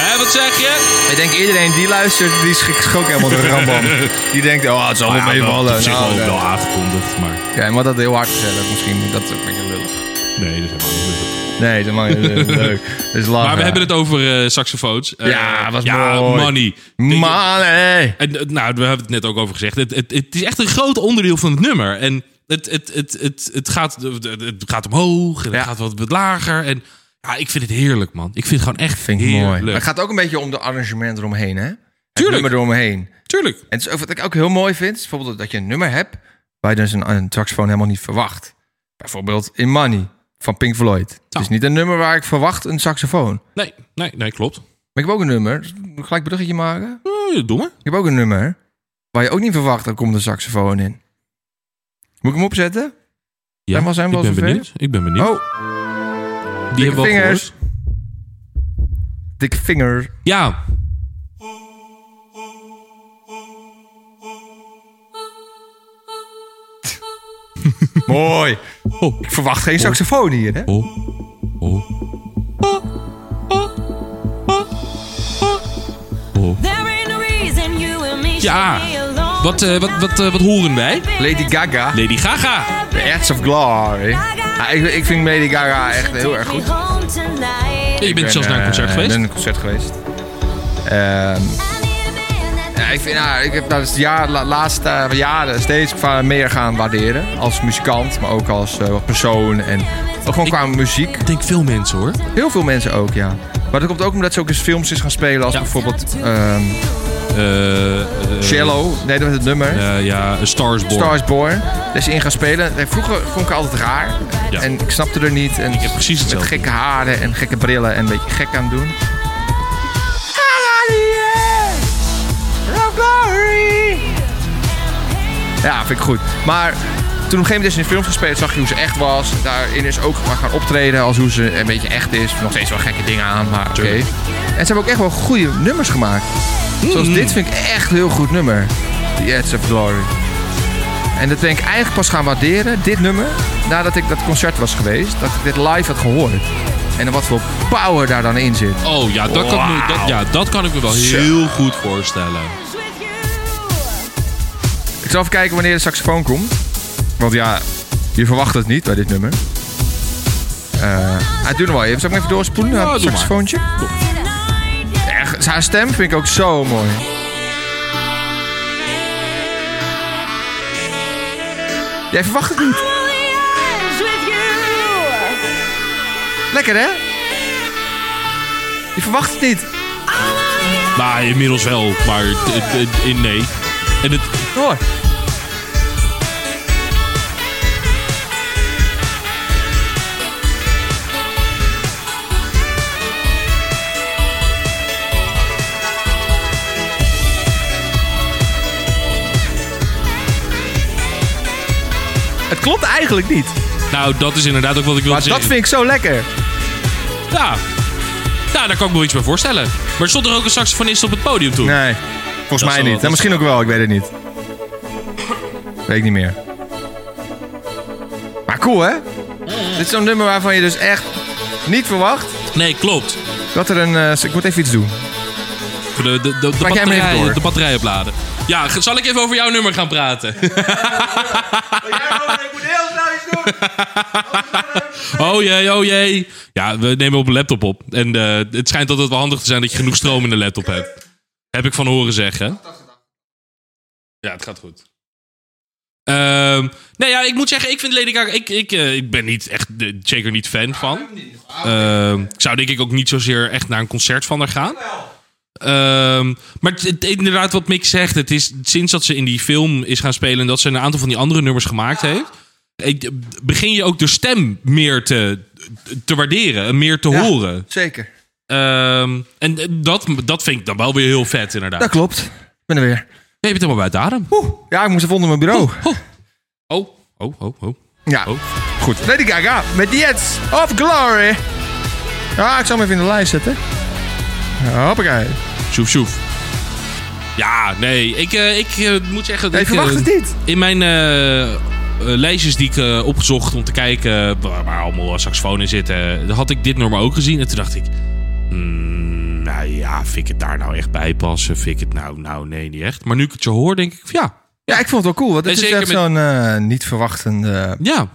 [SPEAKER 2] Hè, wat zeg je?
[SPEAKER 1] Ik denk iedereen die luistert, die schrikt zich ook helemaal de rambam. Die denkt, oh, het zal wel meevallen.
[SPEAKER 2] zich
[SPEAKER 1] Nou,
[SPEAKER 2] wel,
[SPEAKER 1] nee.
[SPEAKER 2] wel aangekondigd, maar...
[SPEAKER 1] Ja, maar dat heel hard gezellig misschien. Dat is een beetje lullig.
[SPEAKER 2] Nee, dat is helemaal niet leuk.
[SPEAKER 1] Nee, dat mag niet. Dat is leuk. Dat is lang.
[SPEAKER 2] Maar we hebben het over eh, saxofoons. Eh,
[SPEAKER 1] Ah, Ja, was
[SPEAKER 2] ja,
[SPEAKER 1] mooi.
[SPEAKER 2] money.
[SPEAKER 1] Money!
[SPEAKER 2] En, eh, nou, we hebben het net ook over gezegd. Het, het, het is echt een groot onderdeel van het nummer. En het, het, het, het, het, gaat, het gaat omhoog en het
[SPEAKER 1] Ja.
[SPEAKER 2] gaat wat, wat lager. En ja, ik vind het heerlijk, man. Ik vind het gewoon echt
[SPEAKER 1] Vind ik
[SPEAKER 2] heerlijk.
[SPEAKER 1] mooi. Maar het gaat ook een beetje om de arrangement eromheen, hè?
[SPEAKER 2] Tuurlijk.
[SPEAKER 1] Het nummer eromheen.
[SPEAKER 2] Tuurlijk.
[SPEAKER 1] En het is ook, wat ik ook heel mooi vind, is bijvoorbeeld dat je een nummer hebt waar je dus een, een saxofoon helemaal niet verwacht. Bijvoorbeeld in Money van Pink Floyd. Het is
[SPEAKER 2] Nou.
[SPEAKER 1] niet een nummer waar ik verwacht een saxofoon.
[SPEAKER 2] Nee, nee, nee, klopt.
[SPEAKER 1] Maar ik heb ook een nummer, dus moet ik gelijk bruggetje maken.
[SPEAKER 2] Eh, doe maar.
[SPEAKER 1] Ik heb ook een nummer waar je ook niet verwacht, er komt een saxofoon in. Moet ik hem opzetten?
[SPEAKER 2] Ja,
[SPEAKER 1] Zijn we- zijn we
[SPEAKER 2] ik
[SPEAKER 1] al
[SPEAKER 2] ben
[SPEAKER 1] zover?
[SPEAKER 2] benieuwd. Ik ben benieuwd.
[SPEAKER 1] Oh,
[SPEAKER 2] Die hebben we al
[SPEAKER 1] vingers.
[SPEAKER 2] gehoord.
[SPEAKER 1] dikke vinger.
[SPEAKER 2] Ja.
[SPEAKER 4] Oh,
[SPEAKER 1] Mooi.
[SPEAKER 2] Oh,
[SPEAKER 1] Ik verwacht geen saxofoon hier, hè?
[SPEAKER 2] oh, oh. oh,
[SPEAKER 5] There ain't no reason you and me
[SPEAKER 2] Ja,
[SPEAKER 5] should be alone
[SPEAKER 2] wat, eh, wat, wat, eh, wat horen wij?
[SPEAKER 1] Lady Gaga,
[SPEAKER 2] Lady Gaga.
[SPEAKER 1] The Edge of Glory. Ja, ik, ik vind Lady Gaga echt heel erg goed.
[SPEAKER 2] Ja, je
[SPEAKER 1] Ik ben,
[SPEAKER 2] bent zelfs naar een
[SPEAKER 1] eh,
[SPEAKER 2] concert
[SPEAKER 1] Ik
[SPEAKER 2] geweest.
[SPEAKER 1] ben naar een concert geweest. Ehm, ja, ik vind haar, ik heb dat is de jaar, la- laatste eh, jaren steeds va- meer gaan waarderen. Als muzikant, maar ook als eh, persoon. En gewoon qua muziek.
[SPEAKER 2] Ik denk veel mensen hoor.
[SPEAKER 1] Heel veel mensen ook, ja. Maar dat komt ook omdat ze ook eens films is gaan spelen. Als
[SPEAKER 2] Ja.
[SPEAKER 1] bijvoorbeeld ehm
[SPEAKER 2] Eh, eh,
[SPEAKER 1] Cello. Nee, dat was het nummer.
[SPEAKER 2] eh, ja, Stars Born.
[SPEAKER 1] Stars Born. Daar is ze in gaan spelen. Nee, Vroeger vond ik haar altijd raar.
[SPEAKER 2] Ja.
[SPEAKER 1] En ik snapte er niet. En ik
[SPEAKER 2] heb precies
[SPEAKER 1] Met
[SPEAKER 2] hetzelfde.
[SPEAKER 1] gekke haren en gekke brillen en een beetje gek aan het doen. Ja, vind ik goed. Maar toen op een gegeven moment is ze in films gespeeld, zag je hoe ze echt was. Daarin is ook maar gaan optreden als hoe ze een beetje echt is. Nog steeds wel gekke dingen aan, maar oké.
[SPEAKER 2] Tuurlijk.
[SPEAKER 1] En ze hebben ook echt wel goede nummers gemaakt. Zoals dit vind ik echt een heel goed nummer. The Edge of Glory. En dat ben ik eigenlijk pas gaan waarderen, dit nummer, nadat ik dat concert was geweest. Dat ik dit live had gehoord. En dan wat voor power daar dan in zit.
[SPEAKER 2] Oh ja dat, kan ik me, dat, ja, dat kan ik me wel heel goed voorstellen.
[SPEAKER 1] Ik zal even kijken wanneer de saxofoon komt. Want ja, je verwacht het niet bij dit nummer. Eh, hij doet nog wel even. Zal ik hem even doorspoelen?
[SPEAKER 2] Ja,
[SPEAKER 1] Ja,
[SPEAKER 2] doe maar.
[SPEAKER 1] saxofoontje. Echt, haar stem vind ik ook zo mooi. Jij verwacht het niet. Lekker hè? Je verwacht het niet.
[SPEAKER 2] Maar inmiddels wel, maar het- het- het- in- nee. En het,
[SPEAKER 1] Hoor. Het klopt eigenlijk niet.
[SPEAKER 2] nou, dat is inderdaad ook wat ik wilde
[SPEAKER 1] Maar dat
[SPEAKER 2] zeggen.
[SPEAKER 1] vind ik zo lekker.
[SPEAKER 2] Ja. Nou, daar kan ik me wel iets bij voorstellen. Maar stond er ook een saxofonist op het podium toen?
[SPEAKER 1] Nee, volgens mij
[SPEAKER 2] zal
[SPEAKER 1] niet.
[SPEAKER 2] wel-
[SPEAKER 1] Nou, misschien ook wel, ik weet het niet. Weet ik niet meer. Maar cool, hè? Dit is zo'n nummer waarvan je dus echt niet verwacht
[SPEAKER 2] Nee, klopt.
[SPEAKER 1] dat er een... eh, ik moet even iets doen.
[SPEAKER 2] De, de, de, de,
[SPEAKER 1] jij maar even
[SPEAKER 2] batterij,
[SPEAKER 1] door.
[SPEAKER 2] de batterij opladen. Ja, ge- zal ik even over jouw nummer gaan praten? Oh jee, oh jee. Ja, we nemen op een laptop op. En eh, het schijnt altijd wel handig te zijn dat je genoeg stroom in de laptop hebt. Heb ik van horen zeggen. Ja, het gaat goed. Ehm, nee, ja, ik moet zeggen, ik vind Lady Gaga... Ik, ik, eh, ik ben niet echt, eh, zeker niet fan van. Ehm, ik zou denk ik ook niet zozeer echt naar een concert van haar gaan. Ehm, maar het- het- inderdaad, wat Mick zegt, het is sinds dat ze in die film is gaan spelen en dat ze een aantal van die andere nummers gemaakt heeft, ik- begin je ook de stem meer te, te waarderen en meer te
[SPEAKER 1] Ja.
[SPEAKER 2] horen.
[SPEAKER 1] Zeker.
[SPEAKER 2] Ehm, en dat, dat vind ik dan wel weer heel vet, inderdaad.
[SPEAKER 1] Dat klopt. Ik ben er weer.
[SPEAKER 2] Je bent helemaal buiten adem.
[SPEAKER 1] Oeh, ja, ik moest even onder mijn bureau.
[SPEAKER 2] Oh, oh, oh, oh.
[SPEAKER 1] Ja,
[SPEAKER 2] Oh.
[SPEAKER 1] goed. Lady Gaga met The Edge of Glory. Ah, ik zal hem even in de lijst zetten. Hoppakee.
[SPEAKER 2] Sjoef, sjoef. Ja, nee, ik, eh, ik eh, moet zeggen... dat
[SPEAKER 1] Nee,
[SPEAKER 2] ik,
[SPEAKER 1] verwacht
[SPEAKER 2] eh,
[SPEAKER 1] het niet.
[SPEAKER 2] In mijn eh, eh, lijstjes die ik eh, opgezocht om te kijken waar, waar allemaal eh, saxofoon in zitten, eh, had ik dit nummer ook gezien. En toen dacht ik, mm, nou ja, vind ik het daar nou echt bij passen? Vind ik het nou, nou nee, niet echt. Maar nu ik het je hoor, denk ik, ja,
[SPEAKER 1] Ja, ik vond het wel cool. Want
[SPEAKER 2] En
[SPEAKER 1] het is
[SPEAKER 2] zeker
[SPEAKER 1] echt
[SPEAKER 2] met-
[SPEAKER 1] zo'n eh, niet verwachtende
[SPEAKER 2] ja.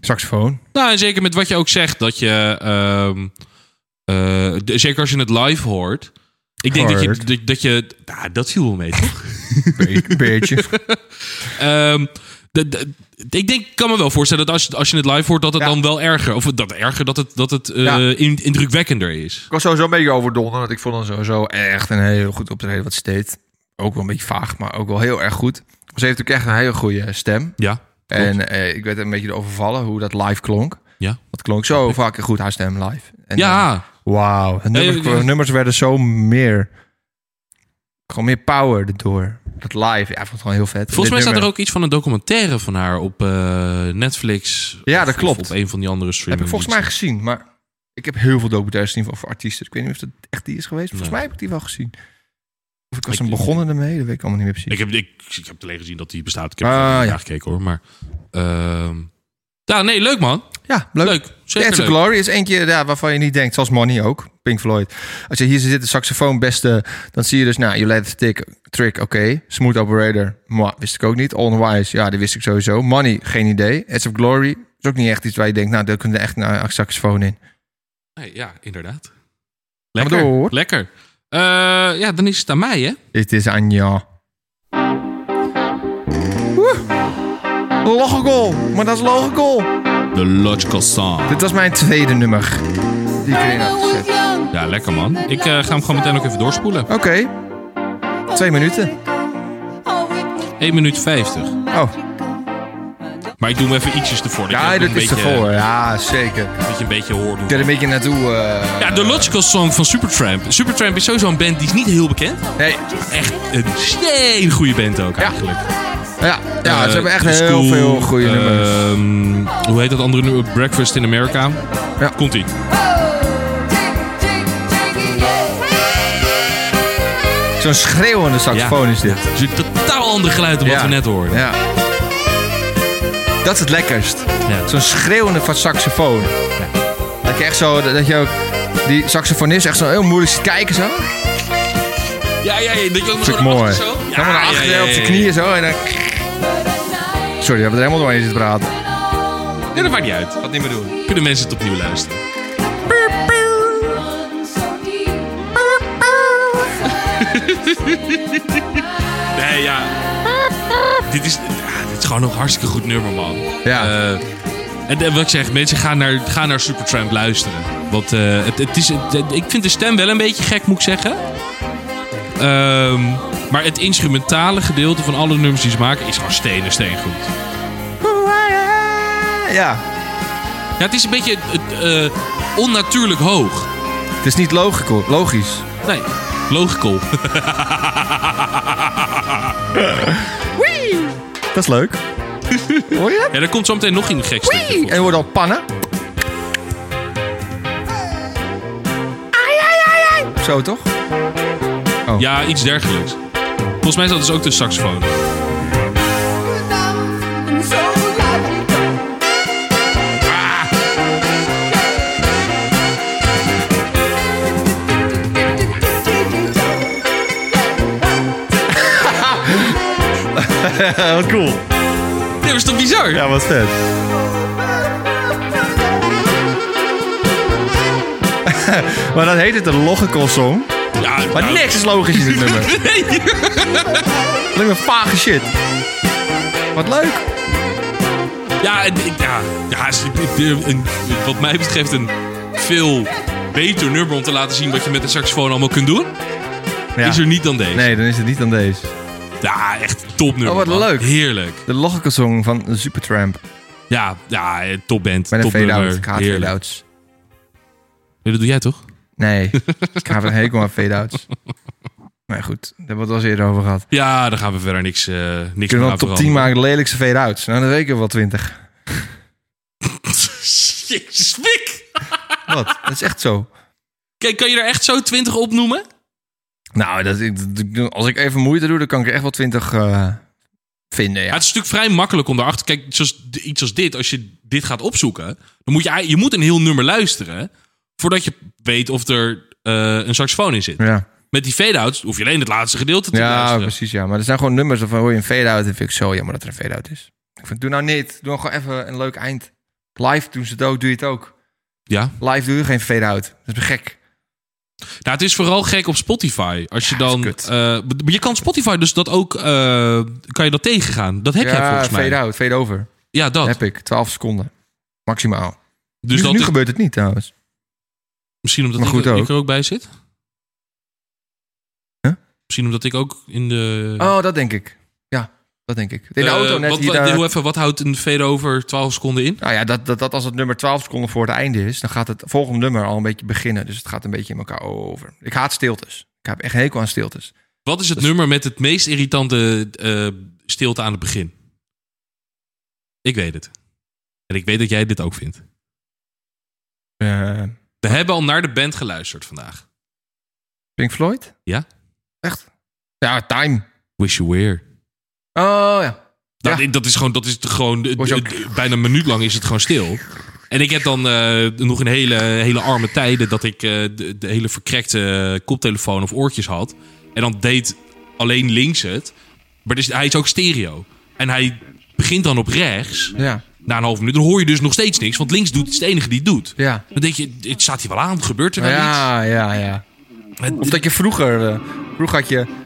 [SPEAKER 1] saxofoon.
[SPEAKER 2] Nou, en zeker met wat je ook zegt, dat je, ehm, eh, de- zeker als je het live hoort, ik denk dat je,
[SPEAKER 1] Hoort.
[SPEAKER 2] dat, dat je, nou, dat viel wel mee, toch?
[SPEAKER 1] Be- Beetje.
[SPEAKER 2] Ehm, de- de- ik denk, ik kan me wel voorstellen dat als, je- als je het live hoort, dat het
[SPEAKER 1] Ja.
[SPEAKER 2] dan wel erger, of dat erger, dat het, dat het eh,
[SPEAKER 1] Ja.
[SPEAKER 2] in- indrukwekkender is.
[SPEAKER 1] Ik was sowieso een beetje overdonderd. Want ik vond hem sowieso echt een heel goed optreden wat ze deed. Ook wel een beetje vaag, maar ook wel heel erg goed. Ze heeft ook echt een hele goede stem.
[SPEAKER 2] Ja.
[SPEAKER 1] En eh, ik werd een beetje overvallen hoe dat live klonk.
[SPEAKER 2] Ja.
[SPEAKER 1] Dat klonk zo vaak goed, haar stem live. En, eh,
[SPEAKER 2] ja.
[SPEAKER 1] Wauw. De
[SPEAKER 2] Nee,
[SPEAKER 1] Nummers,
[SPEAKER 2] ik- ik-
[SPEAKER 1] nummers werden zo meer... Gewoon meer power erdoor. Dat live, ja, ik vond het gewoon heel vet.
[SPEAKER 2] Volgens mij
[SPEAKER 1] Dit
[SPEAKER 2] staat er
[SPEAKER 1] nummer
[SPEAKER 2] ook iets van een documentaire van haar op eh, Netflix.
[SPEAKER 1] Ja,
[SPEAKER 2] Of-
[SPEAKER 1] dat
[SPEAKER 2] of
[SPEAKER 1] klopt.
[SPEAKER 2] Op een van die andere
[SPEAKER 1] Heb
[SPEAKER 2] streaming.
[SPEAKER 1] ik volgens mij gezien, maar... Ik heb heel veel documentaires gezien van- voor artiesten. Ik weet niet of dat echt die is geweest. Volgens
[SPEAKER 2] Nee.
[SPEAKER 1] mij heb ik die wel gezien. Of ik was
[SPEAKER 2] Ik-
[SPEAKER 1] een begonnen ermee, dat weet ik allemaal niet meer precies.
[SPEAKER 2] Ik heb, ik, ik heb alleen gezien dat die bestaat. Ik heb
[SPEAKER 1] Ah,
[SPEAKER 2] er niet
[SPEAKER 1] ja.
[SPEAKER 2] naar gekeken hoor. Maar ehm, Ja, nee, leuk man.
[SPEAKER 1] Ja, leuk.
[SPEAKER 2] Leuk, zeker
[SPEAKER 1] That's a
[SPEAKER 2] leuk.
[SPEAKER 1] Glory is eentje ja, waarvan je niet denkt, zoals Money ook, Pink Floyd. Als je hier zit, de saxofoon beste, dan zie je dus, nou, You Let It Tick, Trick, oké. Smooth Operator, moi, wist ik ook niet. On Wise, ja, die wist ik sowieso. Money, geen idee. That's a Glory is ook niet echt iets waar je denkt, nou, daar kunnen we echt een saxofoon in.
[SPEAKER 2] Nee, ja, inderdaad.
[SPEAKER 1] maar
[SPEAKER 2] Lekker.
[SPEAKER 1] door.
[SPEAKER 2] Lekker. Eh, ja, dan is het aan mij, hè?
[SPEAKER 1] Dit is Anja. Woe. Logical, maar dat is logical.
[SPEAKER 2] The Logical Song.
[SPEAKER 1] Dit was mijn tweede nummer die nou ik erin had gezet.
[SPEAKER 2] Ja, lekker man. Ik eh, ga hem gewoon meteen ook even doorspoelen.
[SPEAKER 1] Oké, twee minuten.
[SPEAKER 2] 1 minuut 50.
[SPEAKER 1] Oh,
[SPEAKER 2] Maar ik doe hem even ietsjes ervoor. je
[SPEAKER 1] ja,
[SPEAKER 2] ook
[SPEAKER 1] dat
[SPEAKER 2] een
[SPEAKER 1] is
[SPEAKER 2] beetje-
[SPEAKER 1] ervoor. Ja, zeker.
[SPEAKER 2] Dat je een beetje hoort. hoe-
[SPEAKER 1] Ik er een beetje naartoe. eh.
[SPEAKER 2] Ja, The Logical Song van Supertramp. Supertramp is sowieso een band die is niet heel bekend.
[SPEAKER 1] Nee,
[SPEAKER 2] Echt een steen goede band ook eigenlijk.
[SPEAKER 1] ja, ja
[SPEAKER 2] Eh,
[SPEAKER 1] ze hebben echt
[SPEAKER 2] It's
[SPEAKER 1] heel
[SPEAKER 2] Cool,
[SPEAKER 1] veel goede nummers.
[SPEAKER 2] ehm, hoe heet dat andere nummer? Breakfast in America.
[SPEAKER 1] Ja.
[SPEAKER 2] Komt ie.
[SPEAKER 1] Zo'n schreeuwende saxofoon is dit.
[SPEAKER 2] Ja, het is een totaal ander geluid dan wat
[SPEAKER 1] Ja.
[SPEAKER 2] we net hoorden.
[SPEAKER 1] Ja. Dat is het lekkerst.
[SPEAKER 2] Ja.
[SPEAKER 1] Zo'n schreeuwende van saxofoon. Dat je echt zo, dat- dat je ook die saxofonist echt zo heel moeilijk zit kijken zo.
[SPEAKER 2] Ja, ja, ja. Dat je ook nog
[SPEAKER 1] Dat is
[SPEAKER 2] zo
[SPEAKER 1] ook
[SPEAKER 2] naar
[SPEAKER 1] mooi.
[SPEAKER 2] achter zo. Ja,
[SPEAKER 1] Helemaal naar
[SPEAKER 2] ja,
[SPEAKER 1] achteren
[SPEAKER 2] ja,
[SPEAKER 1] op
[SPEAKER 2] ja,
[SPEAKER 1] zijn
[SPEAKER 2] ja.
[SPEAKER 1] knieën zo en dan... Sorry, dat we er helemaal doorheen zitten praten.
[SPEAKER 2] Ja, dat maakt niet uit.
[SPEAKER 1] Wat niet meer doen.
[SPEAKER 2] Kunnen mensen het opnieuw luisteren. Nee, ja. dit, is, ja, dit is gewoon een hartstikke goed nummer, man.
[SPEAKER 1] Ja.
[SPEAKER 2] Eh, en, en wat ik zeg, mensen gaan naar, gaan naar Supertramp luisteren. Want eh, het, het is, het- het- ik vind de stem wel een beetje gek, moet ik zeggen. Ehm, maar het instrumentale gedeelte van alle nummers die ze maken is gewoon stenen, steen goed.
[SPEAKER 1] Ja,
[SPEAKER 2] Ja, het is een beetje eh, eh, onnatuurlijk hoog.
[SPEAKER 1] het is niet logico- logisch.
[SPEAKER 2] Nee, logical.
[SPEAKER 1] Dat is leuk. Hoor je dat?
[SPEAKER 2] ja, er komt zo meteen nog een gek stukje
[SPEAKER 1] En
[SPEAKER 2] volgens
[SPEAKER 1] er worden al pannen. Zo toch?
[SPEAKER 2] mij. Ja, iets dergelijks. Volgens mij is dat dus ook de saxofoon.
[SPEAKER 1] wat cool.
[SPEAKER 2] Nee, maar is toch bizar?
[SPEAKER 1] Ja, wat vet. maar dan heet het een logical song.
[SPEAKER 2] Ja,
[SPEAKER 1] Maar
[SPEAKER 2] nou,
[SPEAKER 1] niks is logisch in dit nummer. Alleen maar vage shit. Wat leuk.
[SPEAKER 2] Ja, en ik- ja, ja is- ik- ik- een- wat mij betreft een veel beter nummer om te laten zien wat je met een saxofoon allemaal kunt doen.
[SPEAKER 1] Ja.
[SPEAKER 2] Is er niet dan deze.
[SPEAKER 1] Nee, dan is het niet dan deze.
[SPEAKER 2] Ja, echt topnummer.
[SPEAKER 1] Oh, wat
[SPEAKER 2] man.
[SPEAKER 1] leuk.
[SPEAKER 2] Heerlijk.
[SPEAKER 1] De logical song van Supertramp.
[SPEAKER 2] Ja, ja eh, topband.
[SPEAKER 1] Met een fade-out.
[SPEAKER 2] Topnummer.
[SPEAKER 1] Ik haat
[SPEAKER 2] Heerlijk.
[SPEAKER 1] fade-outs.
[SPEAKER 2] Nee, dat doe jij toch?
[SPEAKER 1] Nee, ik heb een hekel aan fade-outs. Maar goed, daar hebben we het al eens eerder over gehad.
[SPEAKER 2] Ja, daar gaan we verder niks, eh niks
[SPEAKER 1] Kunnen we
[SPEAKER 2] meer
[SPEAKER 1] dan top
[SPEAKER 2] aan
[SPEAKER 1] 10
[SPEAKER 2] veranderen.
[SPEAKER 1] maken, de lelijkste fade-outs? Nou, dan weet ik er wel 20.
[SPEAKER 2] Jezus, Mick.
[SPEAKER 1] Wat? Dat is echt zo.
[SPEAKER 2] Kijk, kan je er echt zo 20 opnoemen?
[SPEAKER 1] Nou, dat, ik- dat- als ik even moeite doe, dan kan ik er echt wel 20 eh, vinden.
[SPEAKER 2] Ja,
[SPEAKER 1] Ja.
[SPEAKER 2] het is natuurlijk vrij makkelijk om daarachter... Kijk, zoals, iets als dit, als je dit gaat opzoeken... dan moet je, ei- je moet een heel nummer luisteren... voordat je weet of er eh, een saxofoon in zit.
[SPEAKER 1] Ja,
[SPEAKER 2] Met die fade-outs hoef je alleen het laatste gedeelte te
[SPEAKER 1] ja
[SPEAKER 2] luisteren.
[SPEAKER 1] precies. Ja. Maar er zijn gewoon nummers waarvan hoor je een fade-out. En vind ik zo jammer dat er een fade-out is. Ik vind, doe nou niet. Doe gewoon even een leuk eind. Live doen ze het ook, doe je het ook.
[SPEAKER 2] Ja.
[SPEAKER 1] Live doe je geen fade-out. Dat is gek.
[SPEAKER 2] Nou, het is vooral gek op Spotify. Als je
[SPEAKER 1] dat is
[SPEAKER 2] dan...
[SPEAKER 1] kut.
[SPEAKER 2] eh, maar je kan Spotify dus dat ook... eh, kan je dat tegengaan. Dat heb jij
[SPEAKER 1] ja,
[SPEAKER 2] volgens mij.
[SPEAKER 1] fade-out, fade-over.
[SPEAKER 2] Ja, dat.
[SPEAKER 1] Heb ik, 12 seconden. Maximaal.
[SPEAKER 2] dus
[SPEAKER 1] nu
[SPEAKER 2] dat
[SPEAKER 1] nu
[SPEAKER 2] is-
[SPEAKER 1] gebeurt het niet trouwens.
[SPEAKER 2] misschien omdat
[SPEAKER 1] maar
[SPEAKER 2] ik,
[SPEAKER 1] goed
[SPEAKER 2] ik
[SPEAKER 1] ook.
[SPEAKER 2] er ook bij zit.
[SPEAKER 1] Huh?
[SPEAKER 2] Misschien omdat ik ook in de...
[SPEAKER 1] Oh, dat denk ik. Ja, dat denk ik. In de
[SPEAKER 2] Eh,
[SPEAKER 1] auto net
[SPEAKER 2] wat,
[SPEAKER 1] hier.
[SPEAKER 2] wat-
[SPEAKER 1] eh,
[SPEAKER 2] doe even, wat houdt een fade-over 12 seconden in?
[SPEAKER 1] Nou ja, dat, dat, dat als het nummer 12 seconden voor het einde is, dan gaat het volgende nummer al een beetje beginnen. Dus het gaat een beetje in elkaar over. Ik haat stiltes. Ik heb echt hekel aan stiltes.
[SPEAKER 2] Wat is het
[SPEAKER 1] Dus-
[SPEAKER 2] nummer met het meest irritante eh, stilte aan het begin? Ik weet het. En ik weet dat jij dit ook vindt.
[SPEAKER 1] Eh,
[SPEAKER 2] We hebben al naar de band geluisterd vandaag.
[SPEAKER 1] Pink Floyd?
[SPEAKER 2] Ja?
[SPEAKER 1] Echt? Ja, Time.
[SPEAKER 2] Wish You Were.
[SPEAKER 1] Oh ja.
[SPEAKER 2] Dat,
[SPEAKER 1] Ja.
[SPEAKER 2] Nou, dat is gewoon, dat is te- gewoon eh,
[SPEAKER 1] Word je ook-
[SPEAKER 2] eh, bijna een minuut lang is het gewoon stil. En ik heb dan eh, nog een hele, hele arme tijden dat ik eh, de, de hele verkrekte eh, koptelefoon of oortjes had. En dan deed alleen links het. Maar dus, hij is ook stereo. En hij begint dan op rechts.
[SPEAKER 1] Ja.
[SPEAKER 2] Na een half minuut. Dan hoor je dus nog steeds niks. Want links doet het is het enige die het doet.
[SPEAKER 1] Ja.
[SPEAKER 2] Dan denk je, het staat hier wel aan. Gebeurt er nou iets?
[SPEAKER 1] Ja, ja, ja.
[SPEAKER 2] Het-
[SPEAKER 1] Of dat je vroeger... eh, vroeger had je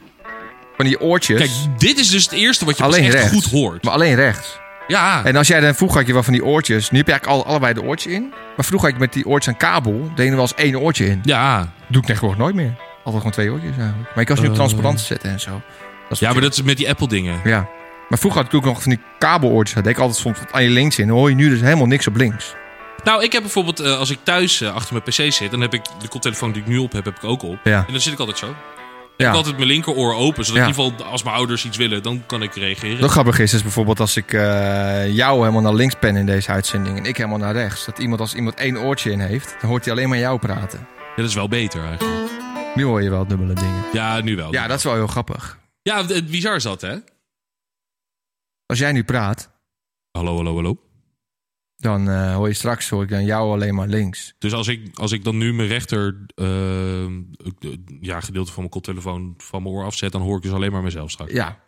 [SPEAKER 1] van die oortjes.
[SPEAKER 2] Kijk, dit is dus het eerste wat je pas
[SPEAKER 1] alleen
[SPEAKER 2] echt
[SPEAKER 1] rechts.
[SPEAKER 2] goed hoort.
[SPEAKER 1] Maar alleen rechts.
[SPEAKER 2] ja,
[SPEAKER 1] En als jij dan vroeger had je wel van die oortjes. Nu heb je eigenlijk al, allebei de oortje in. Maar vroeger had je met die oortjes een kabel. De ene was één oortje in.
[SPEAKER 2] ja.
[SPEAKER 1] Doe ik tegenwoordig nooit meer. Altijd gewoon twee oortjes eigenlijk. Maar ik kan ze nu op transparant zetten en zo. Dat is
[SPEAKER 2] Eh. ja, maar dat is met die Apple dingen.
[SPEAKER 1] Ja. Maar vroeger had ik ook nog van die kabeloortjes. Daar deed ik altijd soms wat aan je links in. Dan hoor je nu dus helemaal niks op links.
[SPEAKER 2] Nou, ik heb bijvoorbeeld, eh, als ik thuis eh, achter mijn pc zit, dan heb ik de koptelefoon die ik nu op heb, heb ik ook op.
[SPEAKER 1] Ja.
[SPEAKER 2] En dan zit ik altijd zo. Dan
[SPEAKER 1] Ja.
[SPEAKER 2] heb ik altijd mijn linkeroor open, zodat
[SPEAKER 1] Ja.
[SPEAKER 2] in ieder geval als mijn ouders iets willen, dan kan ik reageren.
[SPEAKER 1] Wat grappig is, is bijvoorbeeld als ik eh, jou helemaal naar links pen in deze uitzending. En ik helemaal naar rechts. Dat iemand als iemand één oortje in heeft. Dan hoort hij alleen maar jou praten.
[SPEAKER 2] Ja, dat is wel beter eigenlijk.
[SPEAKER 1] Nu hoor je wel dubbele dingen.
[SPEAKER 2] Ja, nu wel.
[SPEAKER 1] Ja, dat is wel heel grappig.
[SPEAKER 2] ja het- het bizar is dat, hè?
[SPEAKER 1] Als jij nu praat,
[SPEAKER 2] Hallo, hallo, hallo.
[SPEAKER 1] dan eh, hoor je straks hoor ik dan jou alleen maar links.
[SPEAKER 2] Dus als ik, als ik dan nu mijn rechter eh, eh, ja, gedeelte van mijn koptelefoon van mijn oor afzet, dan hoor ik dus alleen maar mezelf straks.
[SPEAKER 1] Ja.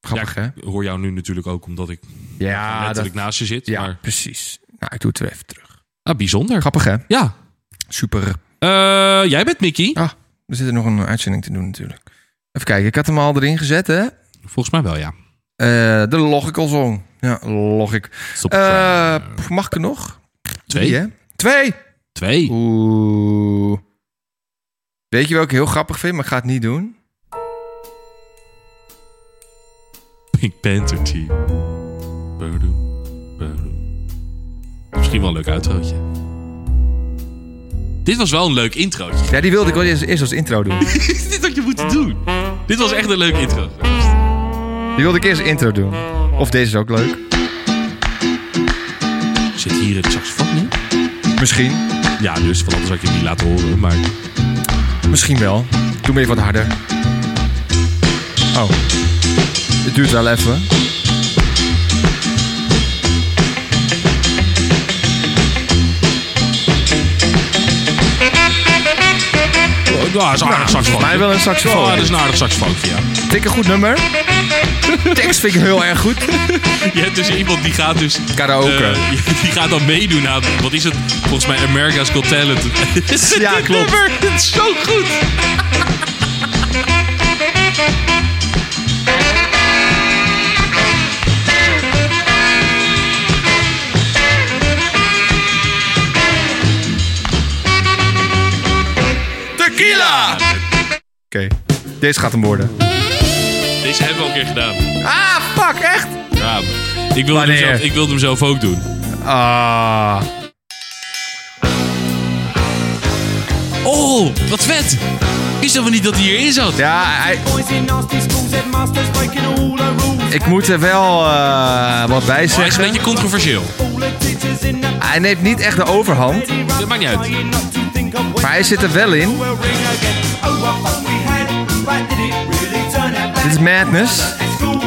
[SPEAKER 1] Grappig,
[SPEAKER 2] Ja,
[SPEAKER 1] hè?
[SPEAKER 2] ik hoor jou nu natuurlijk ook, omdat ik
[SPEAKER 1] Ja, Ah, dat,
[SPEAKER 2] letterlijk naast je zit.
[SPEAKER 1] ja
[SPEAKER 2] Maar,
[SPEAKER 1] precies. Nou, ik doe het weer even terug.
[SPEAKER 2] ah, bijzonder.
[SPEAKER 1] Grappig, hè?
[SPEAKER 2] Ja.
[SPEAKER 1] Super.
[SPEAKER 2] Eh, jij bent Mickey?
[SPEAKER 1] Ah, er zit er nog een uitzending te doen natuurlijk. Even kijken, ik had hem al erin gezet, hè?
[SPEAKER 2] Volgens mij wel, ja.
[SPEAKER 1] Eh, de Logical Song. Ja, Logic.
[SPEAKER 2] Stop.
[SPEAKER 1] Eh, pff, mag ik er nog?
[SPEAKER 2] twee.
[SPEAKER 1] Drie, hè? Twee!
[SPEAKER 2] Twee.
[SPEAKER 1] Oeh. Weet je wat ik heel grappig vind, maar ik ga het niet doen?
[SPEAKER 2] Pink Panther Team. Badoem, badoem. Misschien wel een leuk uitrootje. Dit was wel een leuk introotje.
[SPEAKER 1] Ja, die wilde ik wel eerst, eerst als intro doen. Die
[SPEAKER 2] Dit is dit wat je moet doen. Dit was echt een leuk intro.
[SPEAKER 1] wilde ik eerst intro doen. Of deze is ook leuk.
[SPEAKER 2] Zit hier het saxofoon in?
[SPEAKER 1] Misschien.
[SPEAKER 2] Ja, dus van anders had ik je niet laten horen. Maar
[SPEAKER 1] Misschien wel. Doe me even wat harder. Oh. Het duurt wel even.
[SPEAKER 2] oh, dat is een aardig saxofoon.
[SPEAKER 1] Mij wel een
[SPEAKER 2] Oh, dat
[SPEAKER 1] saxofoon.
[SPEAKER 2] is een aardig saxofoontje, ja.
[SPEAKER 1] Tik een goed nummer. Tekst vind ik heel erg goed.
[SPEAKER 2] Je hebt dus iemand die gaat dus...
[SPEAKER 1] Karaoke.
[SPEAKER 2] eh, die gaat dan meedoen aan... Wat is het? Volgens mij America's Got Talent.
[SPEAKER 1] Ja,
[SPEAKER 2] Dit
[SPEAKER 1] klopt.
[SPEAKER 2] nummer, Dit is zo goed.
[SPEAKER 1] Tequila! Oké, deze gaat hem worden.
[SPEAKER 2] Deze hebben we al een keer gedaan.
[SPEAKER 1] Ah, fuck, echt?
[SPEAKER 2] Ja. Ik wilde, hem
[SPEAKER 1] Wanneer?
[SPEAKER 2] zelf, ik wilde hem zelf ook doen.
[SPEAKER 1] Ah.
[SPEAKER 2] Oh, wat vet. Is dat wel niet dat hij hierin zat?
[SPEAKER 1] Ja, hij-
[SPEAKER 3] Boys in nasty schools, headmasters breaking all the rules.
[SPEAKER 1] ik moet er wel eh, wat bij
[SPEAKER 2] Oh, Hij is een
[SPEAKER 1] zeggen.
[SPEAKER 2] beetje controversieel.
[SPEAKER 3] All the teachers in the
[SPEAKER 1] Hij neemt niet echt de overhand.
[SPEAKER 2] Dat maakt niet uit.
[SPEAKER 1] Maar hij zit er wel in.
[SPEAKER 3] Oh,
[SPEAKER 1] Dit is Madness.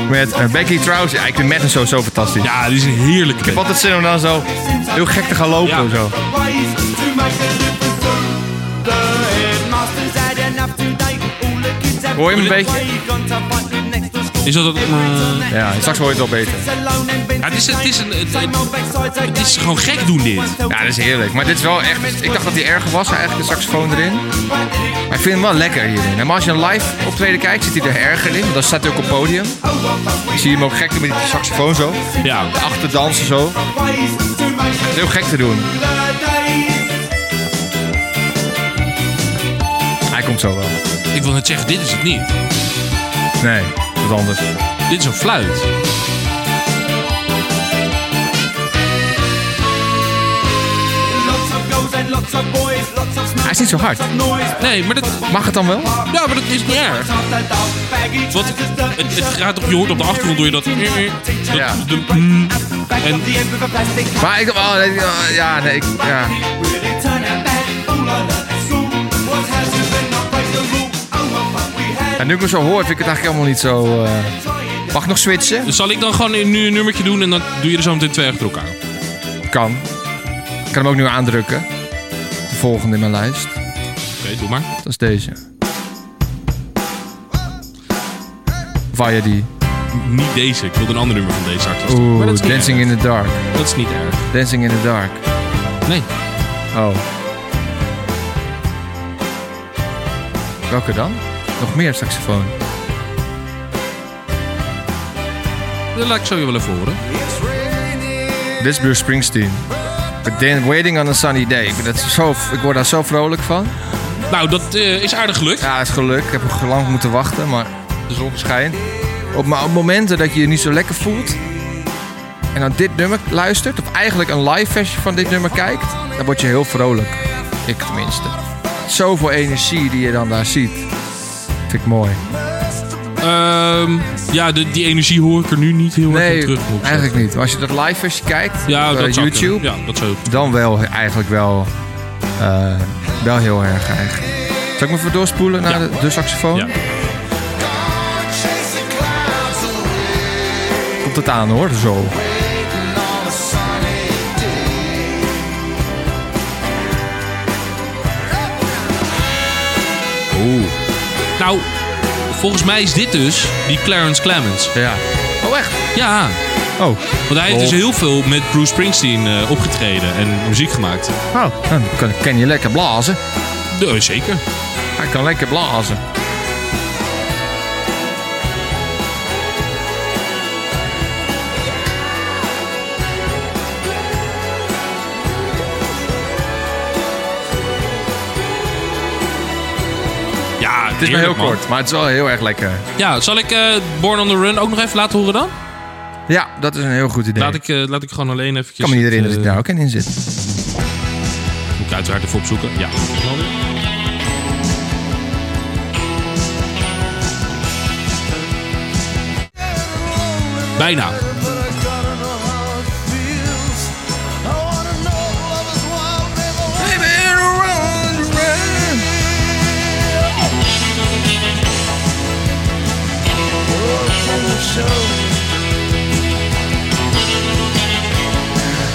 [SPEAKER 1] Met eh, Becky Trout. Ja, ik vind Madness sowieso fantastisch. Ja.
[SPEAKER 2] Ja, dit is een heerlijke
[SPEAKER 1] Ik heb
[SPEAKER 2] band.
[SPEAKER 1] altijd zin om dan zo heel gek te gaan lopen.
[SPEAKER 2] Ja.
[SPEAKER 1] of Zo. Hoor je hem een beetje?
[SPEAKER 2] Is dat dat... eh,
[SPEAKER 1] Ja, straks hoor je het wel beter.
[SPEAKER 2] Ja, het is, het is een... Het, het- het is gewoon gek doen, dit.
[SPEAKER 1] Ja, dat is heerlijk. Maar dit is wel echt... Ik dacht dat hij erger was, eigenlijk de saxofoon erin. Maar ik vind hem wel lekker hierin. En maar als je een live optreden kijkt, zit hij er erger in. Want dan staat hij ook op het podium. Dan zie je hem ook gek doen met die saxofoon zo.
[SPEAKER 2] Ja.
[SPEAKER 1] Achter dansen zo. Het is heel gek te doen. Hij komt zo wel.
[SPEAKER 2] Ik wil net zeggen, dit is het niet.
[SPEAKER 1] Nee, wat anders.
[SPEAKER 2] Dit is een fluit.
[SPEAKER 1] Hij is niet zo hard.
[SPEAKER 2] Nee, maar dat...
[SPEAKER 1] Mag het dan wel?
[SPEAKER 2] Ja, maar dat is niet erg. Want het, het gaat op, je hoort op de achtergrond door je dat... Eh, dat-
[SPEAKER 1] Ja.
[SPEAKER 2] de- mm. en
[SPEAKER 1] Maar ik... Oh, nee, oh, ja, nee, ik... Ja. En nu ik hem zo hoor, vind ik het eigenlijk helemaal niet zo... eh, Mag ik nog switchen?
[SPEAKER 2] Dus zal ik dan gewoon nu een nummertje doen en dan doe je er zo meteen twee achter elkaar.
[SPEAKER 1] Kan. Ik kan hem ook nu aandrukken. De volgende in mijn lijst.
[SPEAKER 2] Oké, doe maar.
[SPEAKER 1] Dat is deze. Via die.
[SPEAKER 2] Niet deze. Ik wilde een ander nummer van deze artiest.
[SPEAKER 1] Oeh,
[SPEAKER 2] Maar dat is niet
[SPEAKER 1] Dancing in
[SPEAKER 2] erg.
[SPEAKER 1] the Dark.
[SPEAKER 2] Dat is niet erg.
[SPEAKER 1] Dancing in the Dark.
[SPEAKER 2] Nee.
[SPEAKER 1] Oh. Welke dan? Nog meer saxofoon.
[SPEAKER 2] Dat laat ik zo je wel even horen.
[SPEAKER 1] Dit is Bruce Springsteen. But then waiting on a sunny day. Ik, ben dat zo, ik word daar zo vrolijk van.
[SPEAKER 2] Nou, dat eh, is aardig gelukt.
[SPEAKER 1] Ja, het is geluk. Ik heb er lang moeten wachten, maar de zon schijnt. Op, maar op momenten dat je je niet zo lekker voelt... en dan dit nummer luistert... of eigenlijk een live versie van dit nummer kijkt... dan word je heel vrolijk. Ik tenminste. Zoveel energie die je dan daar ziet. Vind ik mooi.
[SPEAKER 2] Ehm, ja, de- die energie hoor ik er nu niet heel erg in
[SPEAKER 1] Nee,
[SPEAKER 2] terug. moet ik zeggen.
[SPEAKER 1] eigenlijk niet. Maar als je dat live versie kijkt
[SPEAKER 2] Ja,
[SPEAKER 1] op eh,
[SPEAKER 2] dat zou kunnen.
[SPEAKER 1] YouTube...
[SPEAKER 2] Ja, dat zou
[SPEAKER 1] dan wel eigenlijk wel, eh, wel heel erg eigenlijk. Zal ik me even doorspoelen naar
[SPEAKER 2] Ja.
[SPEAKER 1] de, de saxofoon?
[SPEAKER 2] Ja.
[SPEAKER 1] Komt het aan hoor, zo.
[SPEAKER 2] Nou, volgens mij is dit dus die Clarence Clemens.
[SPEAKER 1] Ja. Oh echt?
[SPEAKER 2] Ja,
[SPEAKER 1] Oh.
[SPEAKER 2] want hij heeft
[SPEAKER 1] Lol.
[SPEAKER 2] dus heel veel met Bruce Springsteen eh, opgetreden en muziek gemaakt.
[SPEAKER 1] oh. Dan kan, kan je lekker blazen.
[SPEAKER 2] Ja, zeker.
[SPEAKER 1] Hij kan lekker blazen.
[SPEAKER 2] Ja, het
[SPEAKER 1] Het is maar heel kort, maar het is wel heel erg lekker.
[SPEAKER 2] Ja, zal ik eh, Born on the Run ook nog even laten horen dan?
[SPEAKER 1] Ja, dat is een heel goed idee.
[SPEAKER 2] Laat, ik, eh, laat ik gewoon alleen eh, even...
[SPEAKER 1] kan me niet herinneren dat ik daar ook in zit.
[SPEAKER 2] Moet ik uiteraard even opzoeken. Ja. Bijna.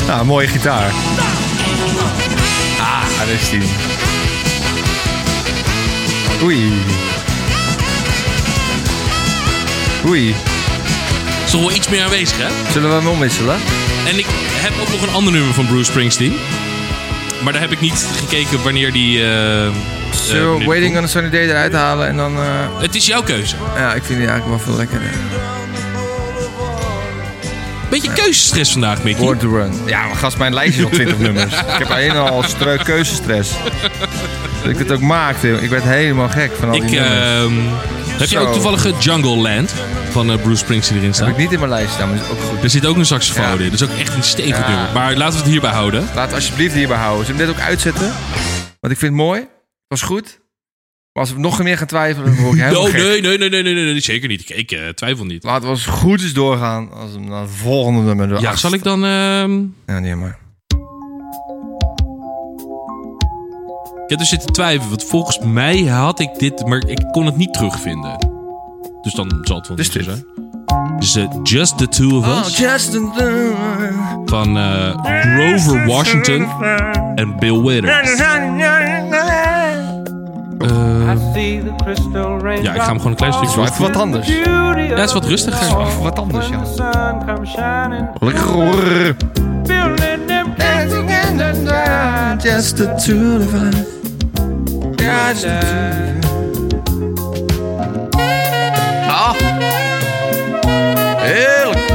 [SPEAKER 1] Nou, mooie gitaar. Ah, daar is die. Oei. Oei.
[SPEAKER 2] Is toch wel iets meer aanwezig, hè?
[SPEAKER 1] Zullen we hem omwisselen?
[SPEAKER 2] En ik heb ook nog een ander nummer van Bruce Springsteen. Maar daar heb ik niet gekeken wanneer die... eh, eh,
[SPEAKER 1] Zullen we
[SPEAKER 2] wanneer
[SPEAKER 1] Waiting
[SPEAKER 2] die
[SPEAKER 1] on a Sunny Day eruit halen en dan... eh,
[SPEAKER 2] komt. Het is jouw keuze.
[SPEAKER 1] ja, ik vind die eigenlijk wel veel lekkerder.
[SPEAKER 2] Beetje keuzestress vandaag, Mickey.
[SPEAKER 1] Born to Run. Ja, maar gast, mijn lijstje is al 20 nummers. Ik heb alleen al streu keuzestress. Dat ik het ook maakte. Ik werd helemaal gek van al die
[SPEAKER 2] Ik,
[SPEAKER 1] nummers.
[SPEAKER 2] ehm,
[SPEAKER 1] nou
[SPEAKER 2] heb je
[SPEAKER 1] Zo.
[SPEAKER 2] ook toevallig eh, Jungle Land van eh, Bruce Springsteen erin
[SPEAKER 1] heb
[SPEAKER 2] staan?
[SPEAKER 1] ik niet in mijn lijst staan, maar is ook goed.
[SPEAKER 2] Er zit ook een saxofoon
[SPEAKER 1] Ja.
[SPEAKER 2] in. Dat is ook echt een stevig
[SPEAKER 1] Ja.
[SPEAKER 2] nummer. Maar laten we het hierbij houden.
[SPEAKER 1] Laat alsjeblieft hierbij houden. Zullen we dit ook uitzetten? Want ik vind het mooi. was goed. Maar als we nog meer gaan twijfelen, dan word ik helemaal
[SPEAKER 2] No, dus-
[SPEAKER 1] gek.
[SPEAKER 2] nee, nee, nee, nee, nee, nee, nee, zeker niet. Ik, ik eh, twijfel niet.
[SPEAKER 1] Laten we als het goed is doorgaan. Als we naar het volgende nummer
[SPEAKER 2] Ja, zal ik dan... ehm
[SPEAKER 1] Ja, nee, maar.
[SPEAKER 2] Ik heb dus zitten twijfelen, want volgens mij had ik dit, maar ik kon het niet terugvinden. Dus dan zal het wel
[SPEAKER 1] Dus
[SPEAKER 2] niet zo
[SPEAKER 1] dit. Oh,
[SPEAKER 2] zijn. Dus eh, Just the Two of Us
[SPEAKER 1] Justin.
[SPEAKER 2] van eh, Grover Washington en Bill Withers. Eh, ja, ik ga hem gewoon een klein stukje
[SPEAKER 1] Zo even
[SPEAKER 2] doen.
[SPEAKER 1] wat anders.
[SPEAKER 2] Ja, het is wat rustiger.
[SPEAKER 1] Even wat anders, ja. Lekker hoor. Just the two of us. Just the two. Ah. Heerlijk.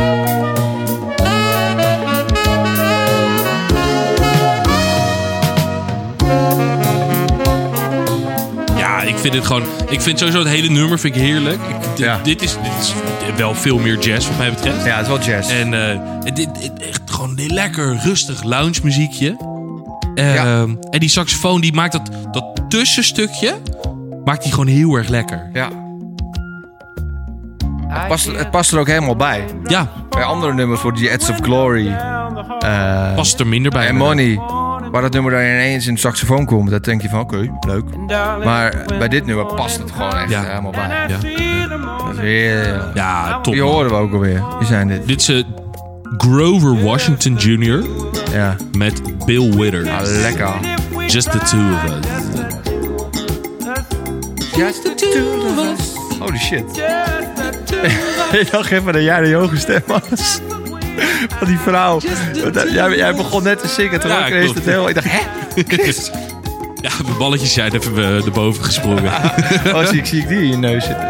[SPEAKER 2] Ja, ik vind dit gewoon... Ik vind sowieso het hele nummer vind ik heerlijk. Ik, dit,
[SPEAKER 1] Ja.
[SPEAKER 2] dit, is, dit is wel veel meer jazz wat mij betreft.
[SPEAKER 1] Ja, het is wel jazz.
[SPEAKER 2] En eh, dit, dit- echt gewoon een lekker rustig lounge muziekje. Ehm,
[SPEAKER 1] Ja.
[SPEAKER 2] En die saxofoon die maakt dat, dat tussenstukje maakt die gewoon heel erg lekker.
[SPEAKER 1] ja. Het past, het past er ook helemaal bij.
[SPEAKER 2] Ja,
[SPEAKER 1] Bij andere nummers voor die Ads of Glory. eh,
[SPEAKER 2] past er minder bij.
[SPEAKER 1] en
[SPEAKER 2] me dan.
[SPEAKER 1] Money. Waar dat nummer dan ineens in de saxofoon komt, dat denk je van oké, leuk. Maar bij dit nummer past het gewoon echt
[SPEAKER 2] Ja.
[SPEAKER 1] helemaal bij.
[SPEAKER 2] Ja.
[SPEAKER 1] Dat is heel-
[SPEAKER 2] Ja, top.
[SPEAKER 1] Die
[SPEAKER 2] man.
[SPEAKER 1] horen we ook alweer. Die zijn dit.
[SPEAKER 2] Dit is eh, Grover Washington Jr.
[SPEAKER 1] Ja,
[SPEAKER 2] met Bill
[SPEAKER 1] Ah,
[SPEAKER 2] Withers.
[SPEAKER 1] lekker.
[SPEAKER 2] Just the two of us.
[SPEAKER 1] Holy shit. Ik dacht even dat jij de hoge stem was. Van die vrouw. Jij, jij begon net te zingen, toen
[SPEAKER 2] Ja,
[SPEAKER 1] ja, ik ineens
[SPEAKER 2] klopt.
[SPEAKER 1] het heel... Ik dacht, hè?
[SPEAKER 2] Ja, mijn balletjes zijn even eh, erboven gesprongen.
[SPEAKER 1] Oh, zie ik, zie ik die in je neus zitten.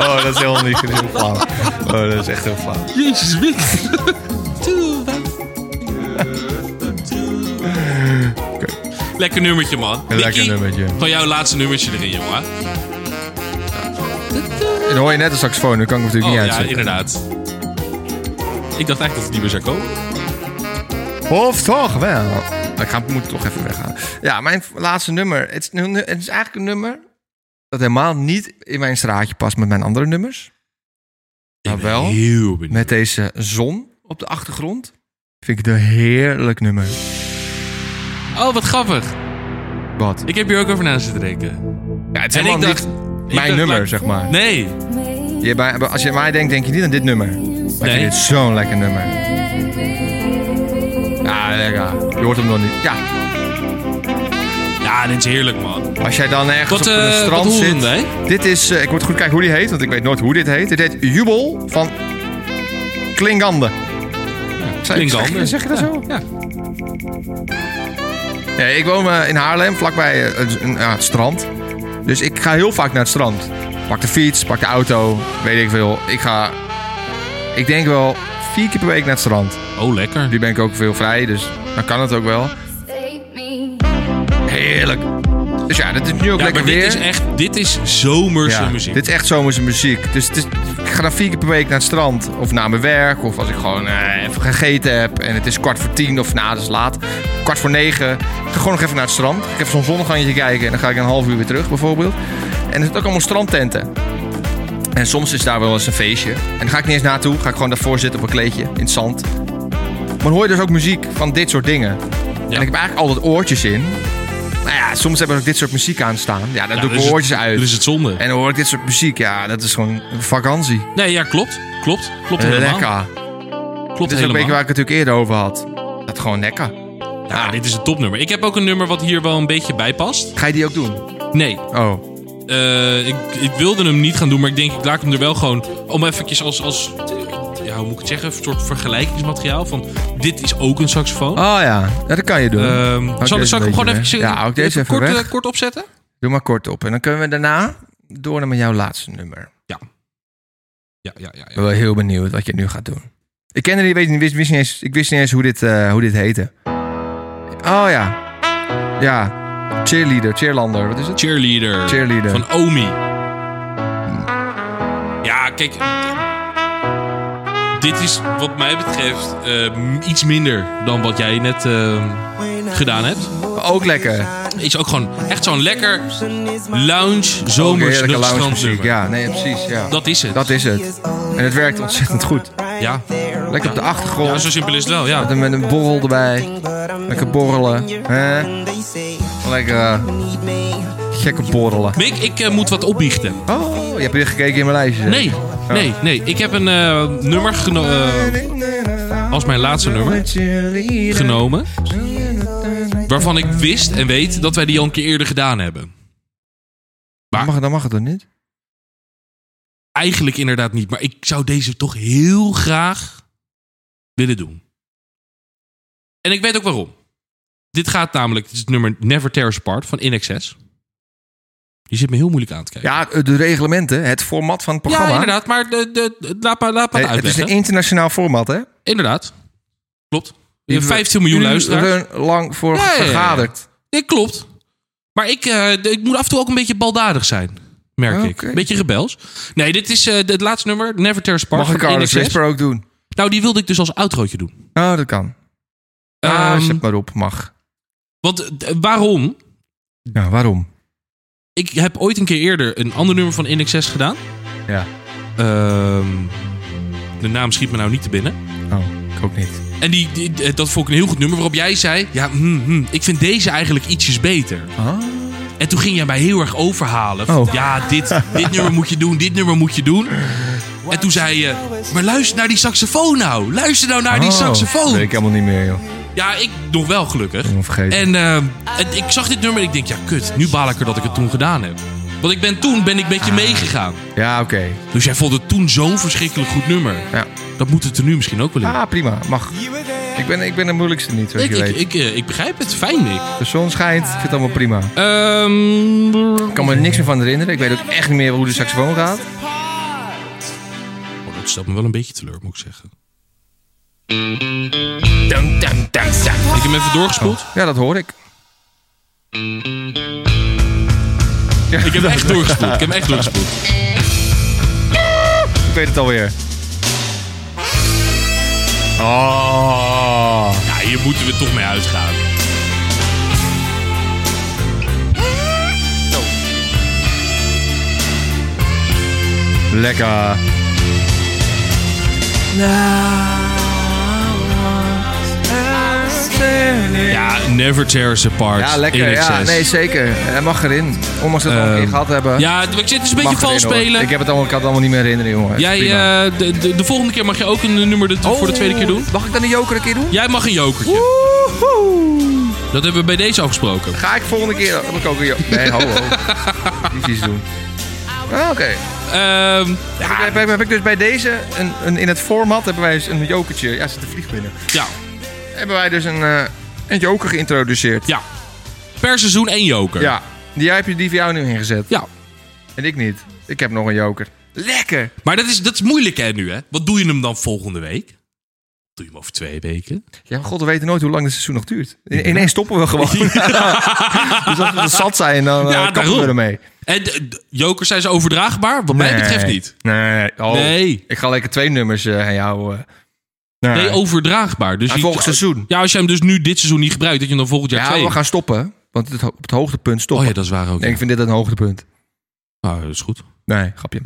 [SPEAKER 1] Oh, dat is helemaal niet heel flauw. Oh, dat is echt heel flauw.
[SPEAKER 2] Jezus, Mick. Lekker nummertje, man.
[SPEAKER 1] Een lekker
[SPEAKER 2] Mickey,
[SPEAKER 1] nummertje.
[SPEAKER 2] Gewoon jouw laatste nummertje erin, jongen.
[SPEAKER 1] Dan hoor je net een saxofoon, dat kan ik natuurlijk
[SPEAKER 2] Oh,
[SPEAKER 1] niet
[SPEAKER 2] ja,
[SPEAKER 1] uitzetten.
[SPEAKER 2] inderdaad. Ik dacht eigenlijk dat het niet meer zou komen.
[SPEAKER 1] Of toch wel. Ik ga, moet toch even weggaan. Ja, mijn laatste nummer. Het is, nu- het is eigenlijk een nummer dat helemaal niet in mijn straatje past met mijn andere nummers. Maar
[SPEAKER 2] Ik ben
[SPEAKER 1] wel
[SPEAKER 2] Heel benieuwd.
[SPEAKER 1] met deze zon op de achtergrond. Vind ik het een heerlijk nummer.
[SPEAKER 2] Oh, wat grappig.
[SPEAKER 1] Wat?
[SPEAKER 2] Ik heb hier ook over na zitten denken.
[SPEAKER 1] Ja, het is
[SPEAKER 2] En ik
[SPEAKER 1] helemaal
[SPEAKER 2] dacht...
[SPEAKER 1] niet
[SPEAKER 2] ik
[SPEAKER 1] mijn
[SPEAKER 2] dacht,
[SPEAKER 1] nummer,
[SPEAKER 2] like,
[SPEAKER 1] zeg maar.
[SPEAKER 2] Nee.
[SPEAKER 1] Je, bij- als je aan mij denkt, denk je niet aan dit nummer. Maar ik
[SPEAKER 2] Nee.
[SPEAKER 1] vind dit zo'n lekker nummer. Ja, lekker. Je hoort hem nog niet. Ja,
[SPEAKER 2] Ja, dit is heerlijk, man.
[SPEAKER 1] als jij dan ergens
[SPEAKER 2] Wat,
[SPEAKER 1] op een
[SPEAKER 2] eh, wat
[SPEAKER 1] strand
[SPEAKER 2] horen
[SPEAKER 1] zit...
[SPEAKER 2] wij?
[SPEAKER 1] Dit is, eh, ik moet goed kijken hoe die heet, want ik weet nooit hoe dit heet. Dit heet Jubel van Klingande. Zeg-
[SPEAKER 2] Klingande.
[SPEAKER 1] Zeg, zeg je dat zo? Ja. ik woon eh, in Haarlem, vlakbij eh, het- een- ja, het strand. Dus ik ga heel vaak naar het strand. Pak de fiets, pak de auto, weet ik veel. Ik ga, ik denk wel vier keer per week naar het strand.
[SPEAKER 2] Oh, lekker.
[SPEAKER 1] Nu ben ik ook veel vrij, dus dan kan het ook wel. Heerlijk. Dus ja, dat is nu ook
[SPEAKER 2] Ja,
[SPEAKER 1] lekker
[SPEAKER 2] maar dit
[SPEAKER 1] weer.
[SPEAKER 2] is echt... Dit is zomerse
[SPEAKER 1] Ja,
[SPEAKER 2] muziek.
[SPEAKER 1] Dit is echt zomerse muziek. Dus het is, ik ga dan vier keer per week naar het strand. Of naar mijn werk. Of als ik gewoon eh, even gegeten heb. En het is kwart voor tien. Of nou, dat is laat. Kwart voor negen. Ik ga gewoon nog even naar het strand. Ik ga even zo'n zonnegangetje kijken. En dan ga ik een half uur weer terug bijvoorbeeld. En er zitten ook allemaal strandtenten. En soms is daar wel eens een feestje. En dan ga ik niet eens naartoe. Ga ik gewoon daarvoor zitten op een kleedje. In het zand. Maar dan hoor je dus ook muziek van dit soort dingen. En ik heb eigenlijk altijd oortjes in. Nou ja, soms hebben ze ook dit soort muziek aan staan. Ja, dan
[SPEAKER 2] Ja,
[SPEAKER 1] doe ik
[SPEAKER 2] dat is
[SPEAKER 1] mijn
[SPEAKER 2] het-
[SPEAKER 1] oortjes uit.
[SPEAKER 2] Dat is het zonde.
[SPEAKER 1] En dan hoor ik dit soort muziek. Ja, dat is gewoon vakantie.
[SPEAKER 2] Nee, ja, klopt. Klopt. Klopt helemaal.
[SPEAKER 1] Lekker. Dit is
[SPEAKER 2] Klopt
[SPEAKER 1] ook een
[SPEAKER 2] helemaal.
[SPEAKER 1] beetje waar ik het natuurlijk eerder over had. Dat gewoon lekker.
[SPEAKER 2] Ja, dit is een topnummer. Ik heb ook een nummer wat hier wel een beetje bij past.
[SPEAKER 1] Ga je die ook doen?
[SPEAKER 2] Nee,
[SPEAKER 1] Oh,
[SPEAKER 2] eh, ik, ik wilde hem niet gaan doen, maar ik denk ik laat hem er wel gewoon... Om eventjes als, als ja, hoe moet ik het zeggen, een soort vergelijkingsmateriaal van... Dit is ook een saxofoon.
[SPEAKER 1] oh ja. ja, dat kan je doen.
[SPEAKER 2] Ehm,
[SPEAKER 1] Ook
[SPEAKER 2] zal,
[SPEAKER 1] deze
[SPEAKER 2] zal ik
[SPEAKER 1] een
[SPEAKER 2] hem gewoon
[SPEAKER 1] beetje
[SPEAKER 2] eventjes
[SPEAKER 1] weg. Ja, ook deze even
[SPEAKER 2] kort,
[SPEAKER 1] weg.
[SPEAKER 2] eh, kort opzetten?
[SPEAKER 1] Doe maar kort op. En dan kunnen we daarna door naar jouw laatste nummer.
[SPEAKER 2] Ja. Ja, ja, ja.
[SPEAKER 1] Ik
[SPEAKER 2] ja.
[SPEAKER 1] ben wel heel benieuwd wat je nu gaat doen. Ik kende die, weet, niet- wist, wist niet eens, ik wist niet eens hoe dit, eh, hoe dit heette. Oh ja. Ja. Cheerleader, cheerlander. Wat is het?
[SPEAKER 2] Cheerleader.
[SPEAKER 1] Cheerleader.
[SPEAKER 2] Van Omi. Ja, kijk. Dit is wat mij betreft eh, iets minder dan wat jij net eh, gedaan hebt.
[SPEAKER 1] Ook lekker.
[SPEAKER 2] Is ook gewoon echt zo'n lekker lounge
[SPEAKER 1] Ook een Oh,
[SPEAKER 2] zomers
[SPEAKER 1] heerlijke lounge muziek.
[SPEAKER 2] strandnummer.
[SPEAKER 1] Ja, nee, precies. Ja.
[SPEAKER 2] Dat is het.
[SPEAKER 1] Dat is het. En het werkt ontzettend goed.
[SPEAKER 2] Ja.
[SPEAKER 1] Lekker op de
[SPEAKER 2] ja,
[SPEAKER 1] achtergrond.
[SPEAKER 2] zo simpel is het wel. Ja.
[SPEAKER 1] Met een- Met een borrel erbij. Lekker borrelen. Hè? Lekker eh, gekke borrelen.
[SPEAKER 2] Mick, ik eh, moet wat opbiechten.
[SPEAKER 1] Oh, je hebt weer gekeken in mijn lijstje. zeg.
[SPEAKER 2] Nee, nee, nee. Ik heb een eh, nummer geno- eh, als mijn laatste nummer genomen. Waarvan ik wist en weet dat wij die al een keer eerder gedaan hebben.
[SPEAKER 1] Dan mag, dan mag het toch niet?
[SPEAKER 2] Eigenlijk inderdaad niet, maar ik zou deze toch heel graag willen doen. En ik weet ook waarom. Dit gaat namelijk, dit is het nummer Never Tear Us Apart van InXS. Je zit me heel moeilijk aan te kijken.
[SPEAKER 1] Ja, eh, de reglementen, het format van het programma.
[SPEAKER 2] inderdaad, maar de, de, de- laat maar, laat maar
[SPEAKER 1] Hey, het is
[SPEAKER 2] uitleggen.
[SPEAKER 1] een internationaal format, hè?
[SPEAKER 2] Inderdaad, klopt.
[SPEAKER 1] Die
[SPEAKER 2] 15 miljoen luisteraars.
[SPEAKER 1] Uren lang voor
[SPEAKER 2] Ja, ja, ja.
[SPEAKER 1] vergaderd.
[SPEAKER 2] Dit klopt. Maar ik, eh, d- ik moet af en toe ook een beetje baldadig zijn. Merk ik.
[SPEAKER 1] Oké.
[SPEAKER 2] Een beetje rebels. Nee, dit is eh, het laatste nummer. Never Tear Us Apart.
[SPEAKER 1] Mag ik
[SPEAKER 2] van
[SPEAKER 1] Carlos
[SPEAKER 2] INXS.
[SPEAKER 1] Whisper ook doen?
[SPEAKER 2] Nou, die wilde ik dus als outrootje doen.
[SPEAKER 1] Oh, dat kan. ah,
[SPEAKER 2] Ehm,
[SPEAKER 1] zet maar op, mag.
[SPEAKER 2] want eh, waarom?
[SPEAKER 1] Ja, waarom?
[SPEAKER 2] Ik heb ooit een keer eerder een ander nummer van InXS gedaan.
[SPEAKER 1] Ja.
[SPEAKER 2] Ehm, de naam schiet me nou niet te binnen.
[SPEAKER 1] Oh, ik ook niet.
[SPEAKER 2] En die, die- dat vond ik een heel goed nummer waarop jij zei... Ja, hmm, hmm, ik vind deze eigenlijk ietsjes beter. En toen ging jij mij heel erg overhalen. van,
[SPEAKER 1] Ah. Oh.
[SPEAKER 2] Ja, dit, dit nummer moet je doen, dit nummer moet je doen. En toen zei je... Maar luister naar die saxofoon nou. Luister nou naar die
[SPEAKER 1] Oh,
[SPEAKER 2] saxofoon.
[SPEAKER 1] Weet ik helemaal niet meer, joh.
[SPEAKER 2] Ja, ik nog wel gelukkig.
[SPEAKER 1] Helemaal vergeten.
[SPEAKER 2] En eh, het- ik zag dit nummer en ik denk, ja kut, nu baal ik er dat ik het toen gedaan heb. Want ik ben toen ben ik met je
[SPEAKER 1] Ah.
[SPEAKER 2] meegegaan.
[SPEAKER 1] Ja, oké.
[SPEAKER 2] Dus jij vond het toen zo'n verschrikkelijk goed nummer.
[SPEAKER 1] Ja.
[SPEAKER 2] Dat moet het er nu misschien ook wel in.
[SPEAKER 1] Ah, prima. Mag. Ik ben, ik ben de moeilijkste niet, weet
[SPEAKER 2] ik,
[SPEAKER 1] je
[SPEAKER 2] ik,
[SPEAKER 1] weet.
[SPEAKER 2] ik, eh, ik begrijp het, fijn Nick.
[SPEAKER 1] De zon schijnt, ik vind het allemaal prima.
[SPEAKER 2] Ehm,
[SPEAKER 1] Ik kan me er niks meer van herinneren. Ik weet ook echt niet meer hoe de saxofoon gaat.
[SPEAKER 2] oh, dat stelt me wel een beetje teleur, moet ik zeggen. Ik heb hem even doorgespoeld.
[SPEAKER 1] Ja, dat hoor ik.
[SPEAKER 2] Ik heb hem echt doorgespoeld. Ik heb hem echt doorgespoeld.
[SPEAKER 1] Ik weet het alweer. Oh.
[SPEAKER 2] Ja, hier moeten we toch mee uitgaan.
[SPEAKER 1] Lekker.
[SPEAKER 2] Ja, Never Tear Us Apart.
[SPEAKER 1] Ja, lekker.
[SPEAKER 2] In
[SPEAKER 1] Ja,
[SPEAKER 2] Excess.
[SPEAKER 1] nee, zeker. Hij mag erin. Ondanks dat we het al een keer
[SPEAKER 2] Ehm,
[SPEAKER 1] gehad hebben.
[SPEAKER 2] Ja, ik zit dus een
[SPEAKER 1] mag
[SPEAKER 2] beetje vals
[SPEAKER 1] erin, hoor.
[SPEAKER 2] spelen.
[SPEAKER 1] Ik, heb het allemaal, ik kan het allemaal niet meer herinneren, jongen.
[SPEAKER 2] Jij,
[SPEAKER 1] Prima. Oh.
[SPEAKER 2] eh, de, de, de volgende keer mag je ook een eh, nummer de, voor de tweede keer doen.
[SPEAKER 1] Mag ik dan de joker een keer doen?
[SPEAKER 2] Jij mag een jokertje. Dat hebben we bij deze afgesproken.
[SPEAKER 1] Ga ik volgende keer... Dan heb ik ook een joker. Nee, ho, ho. Niet iets doen. Ah, Oké.
[SPEAKER 2] Ehm,
[SPEAKER 1] Heb, ik- heb- heb ik dus bij deze, een, een, in het format, hebben wij dus een jokertje. Ja, er zit een vlieg binnen.
[SPEAKER 2] ja,
[SPEAKER 1] Hebben wij dus een, eh, een joker geïntroduceerd.
[SPEAKER 2] ja. Per seizoen één joker.
[SPEAKER 1] Ja. Die heb je die voor jou nu ingezet.
[SPEAKER 2] Ja.
[SPEAKER 1] En ik niet. Ik heb nog een joker. Lekker.
[SPEAKER 2] Maar dat is, dat is moeilijk hè nu hè. Wat doe je hem dan volgende week? Doe je hem over twee weken?
[SPEAKER 1] Ja, maar god, we weten nooit hoe lang dit seizoen nog duurt. I- Ineens stoppen we gewoon. dus als we er zat zijn, dan eh,
[SPEAKER 2] Ja,
[SPEAKER 1] kappen
[SPEAKER 2] daarom.
[SPEAKER 1] we ermee.
[SPEAKER 2] En de- de- jokers zijn ze overdraagbaar? Wat mij betreft niet.
[SPEAKER 1] Nee. Oh,
[SPEAKER 2] Nee.
[SPEAKER 1] Ik ga lekker twee nummers eh, aan jou... eh. nee.
[SPEAKER 2] Nee, overdraagbaar. Dus
[SPEAKER 1] Ja,
[SPEAKER 2] je-
[SPEAKER 1] volgend seizoen.
[SPEAKER 2] Ja, als jij hem dus nu dit seizoen niet gebruikt, dat je hem dan volgend jaar
[SPEAKER 1] Ja,
[SPEAKER 2] twee...
[SPEAKER 1] we gaan stoppen. Want het, ho- op het hoogtepunt
[SPEAKER 2] Oh
[SPEAKER 1] stoppen.
[SPEAKER 2] ja, dat is waar ook.
[SPEAKER 1] Nee, ik
[SPEAKER 2] Ja.
[SPEAKER 1] vind dit een hoogtepunt.
[SPEAKER 2] Ah, dat is goed.
[SPEAKER 1] Nee, grapje.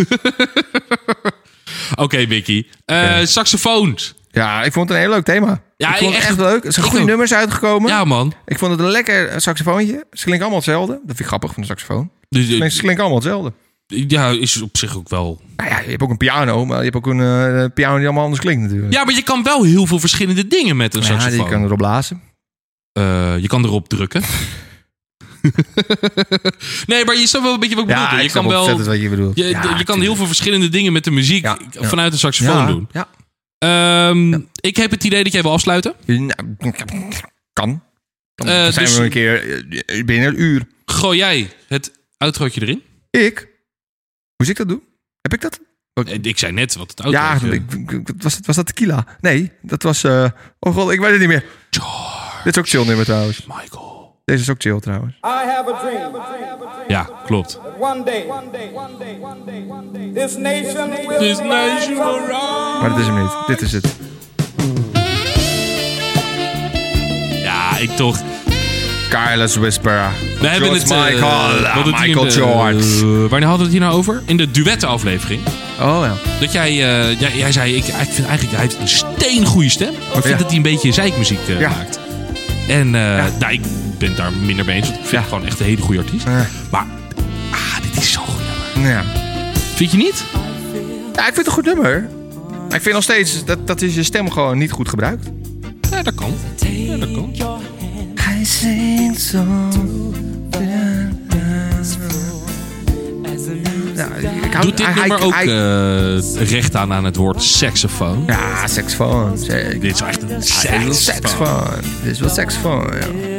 [SPEAKER 2] Oké, Vicky. Eh, Saxofoons.
[SPEAKER 1] ja, ik vond het een heel leuk thema.
[SPEAKER 2] Ja,
[SPEAKER 1] ik vond het
[SPEAKER 2] echt.
[SPEAKER 1] echt leuk. Er zijn
[SPEAKER 2] Ik
[SPEAKER 1] goede
[SPEAKER 2] ook.
[SPEAKER 1] nummers uitgekomen.
[SPEAKER 2] Ja, man.
[SPEAKER 1] Ik vond het een lekker saxofoontje. Ze klinken allemaal hetzelfde. Dat vind ik grappig van de saxofoon.
[SPEAKER 2] Dus, eh,
[SPEAKER 1] Ze klinken- Ze klinken allemaal hetzelfde.
[SPEAKER 2] Ja, is op zich ook wel.
[SPEAKER 1] Nou ja, je hebt ook een piano, maar je hebt ook een eh, piano die allemaal anders klinkt natuurlijk. Nou
[SPEAKER 2] Ja, maar je kan wel heel veel verschillende dingen met een
[SPEAKER 1] Ja,
[SPEAKER 2] saxofoon.
[SPEAKER 1] die kan erop blazen.
[SPEAKER 2] Eh, je kan erop drukken. nee, maar je snapt wel een beetje wat ik bedoel.
[SPEAKER 1] ik
[SPEAKER 2] Je
[SPEAKER 1] snap
[SPEAKER 2] kan wel.
[SPEAKER 1] ontzettend wat je bedoelt.
[SPEAKER 2] Je,
[SPEAKER 1] Ja,
[SPEAKER 2] je kan heel
[SPEAKER 1] tuurlijk.
[SPEAKER 2] veel verschillende dingen met de muziek
[SPEAKER 1] Ja, ja.
[SPEAKER 2] vanuit een saxofoon
[SPEAKER 1] ja,
[SPEAKER 2] doen.
[SPEAKER 1] Ja.
[SPEAKER 2] Ehm, Ik heb het idee dat jij wil afsluiten.
[SPEAKER 1] Nou, kan. Dan
[SPEAKER 2] Eh,
[SPEAKER 1] zijn
[SPEAKER 2] dus-
[SPEAKER 1] we een keer eh, binnen een uur.
[SPEAKER 2] Gooi jij het outrootje erin?
[SPEAKER 1] Ik? Hoe zie ik dat doen? Heb ik dat?
[SPEAKER 2] Eh, Ik zei net wat het
[SPEAKER 1] Ja,
[SPEAKER 2] outrootje...
[SPEAKER 1] ik- ik- was, dat- was dat tequila? Nee, dat was... eh, oh god, ik weet het niet meer. Dit is ook chill nummer trouwens.
[SPEAKER 2] Michael.
[SPEAKER 1] Deze is ook chill trouwens.
[SPEAKER 6] I have a dream.
[SPEAKER 2] Ja, klopt.
[SPEAKER 6] One day, one day, one day, one day, one day. This nation will
[SPEAKER 2] This
[SPEAKER 6] rise
[SPEAKER 2] nation
[SPEAKER 6] up.
[SPEAKER 2] will rise.
[SPEAKER 1] Maar dat is hem niet. Dit is het.
[SPEAKER 2] Ja, ik toch.
[SPEAKER 1] Careless Whisperer.
[SPEAKER 2] We hebben het... eh,
[SPEAKER 1] Michael.
[SPEAKER 2] we hadden het hier
[SPEAKER 1] Michael
[SPEAKER 2] in de-
[SPEAKER 1] George.
[SPEAKER 2] eh, wanneer hadden we het hier nou over? In de duettenaflevering.
[SPEAKER 1] Oh ja.
[SPEAKER 2] Dat jij, eh, jij, jij zei, ik, ik vind eigenlijk, hij heeft een steengoeie stem. Maar ik vind
[SPEAKER 1] Ja.
[SPEAKER 2] dat hij een beetje zeikmuziek eh,
[SPEAKER 1] Ja.
[SPEAKER 2] maakt. En eh, nou, ik ben het daar minder mee eens. Want ik vind
[SPEAKER 1] Ja.
[SPEAKER 2] het gewoon echt een hele goede artiest.
[SPEAKER 1] Eh.
[SPEAKER 2] Maar, ah, dit is zo'n goed nummer.
[SPEAKER 1] Ja.
[SPEAKER 2] Vind je niet?
[SPEAKER 1] Ja, ik vind het een goed nummer. Maar ik vind nog steeds dat, dat is je stem gewoon niet goed gebruikt.
[SPEAKER 2] Ja, dat kan. Ja, dat kan.
[SPEAKER 1] Hij zingt zo. Ja, ik hou,
[SPEAKER 2] Doet dit
[SPEAKER 1] hij- hij-
[SPEAKER 2] nummer ook
[SPEAKER 1] hij-
[SPEAKER 2] eh, recht aan aan het woord saxofoon?
[SPEAKER 1] ja, saxofoon. zeker.
[SPEAKER 2] Dit is echt een
[SPEAKER 1] Dit is wel
[SPEAKER 2] saxofoon.
[SPEAKER 1] saxofoon. Dit is wel saxofoon,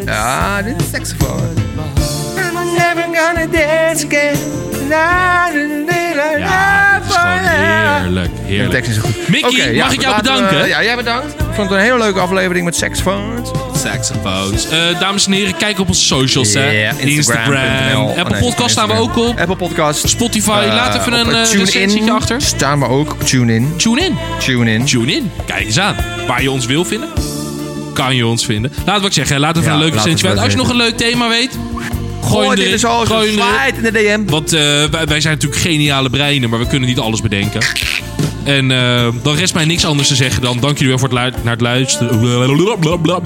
[SPEAKER 1] ja. Ja, dit is saxofoon. I'm never gonna dance again. Ja,
[SPEAKER 2] Ja, het is gewoon heerlijk.
[SPEAKER 1] De
[SPEAKER 2] heerlijk.
[SPEAKER 1] tekst is zo goed.
[SPEAKER 2] Mickey,
[SPEAKER 1] Oké,
[SPEAKER 2] mag ik jou
[SPEAKER 1] laten we-
[SPEAKER 2] bedanken?
[SPEAKER 1] ja, jij bedankt. Ik vond het een hele leuke aflevering met saxofoons.
[SPEAKER 2] Saxophones. Eh, dames en heren, kijk op onze socials. hè.
[SPEAKER 1] Ja,
[SPEAKER 2] Instagram.
[SPEAKER 1] Instagram.nl.
[SPEAKER 2] Apple
[SPEAKER 1] Oh, nee,
[SPEAKER 2] Podcast staan we ook
[SPEAKER 1] Instagram.
[SPEAKER 2] op.
[SPEAKER 1] Apple Podcast. Eh,
[SPEAKER 2] Spotify. Laat even een uh, recensietje
[SPEAKER 1] in
[SPEAKER 2] achter.
[SPEAKER 1] Staan we ook. Tune in.
[SPEAKER 2] Tune in.
[SPEAKER 1] Tune in.
[SPEAKER 2] Tune in. Kijk eens aan. Waar je ons wil vinden, kan je ons vinden. Laten we ook zeggen, hè, laat even
[SPEAKER 1] Ja,
[SPEAKER 2] een leuke
[SPEAKER 1] laat
[SPEAKER 2] recensie
[SPEAKER 1] het
[SPEAKER 2] uit. Als je
[SPEAKER 1] even
[SPEAKER 2] nog een leuk thema weet, gooi
[SPEAKER 1] Gooi
[SPEAKER 2] hem
[SPEAKER 1] Oh, dit
[SPEAKER 2] erin.
[SPEAKER 1] in de socials.
[SPEAKER 2] gooi hem erin.
[SPEAKER 1] Slide in de DM.
[SPEAKER 2] Want eh, wij, wij zijn natuurlijk geniale breinen, maar we kunnen niet alles bedenken. En eh, dan rest mij niks anders te zeggen dan dank jullie wel voor het luid- naar het luisteren.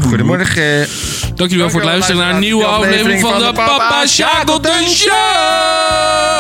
[SPEAKER 1] Goedemorgen.
[SPEAKER 2] Dank jullie wel voor het luisteren naar een nieuwe aflevering van de Papa Shackleton Show.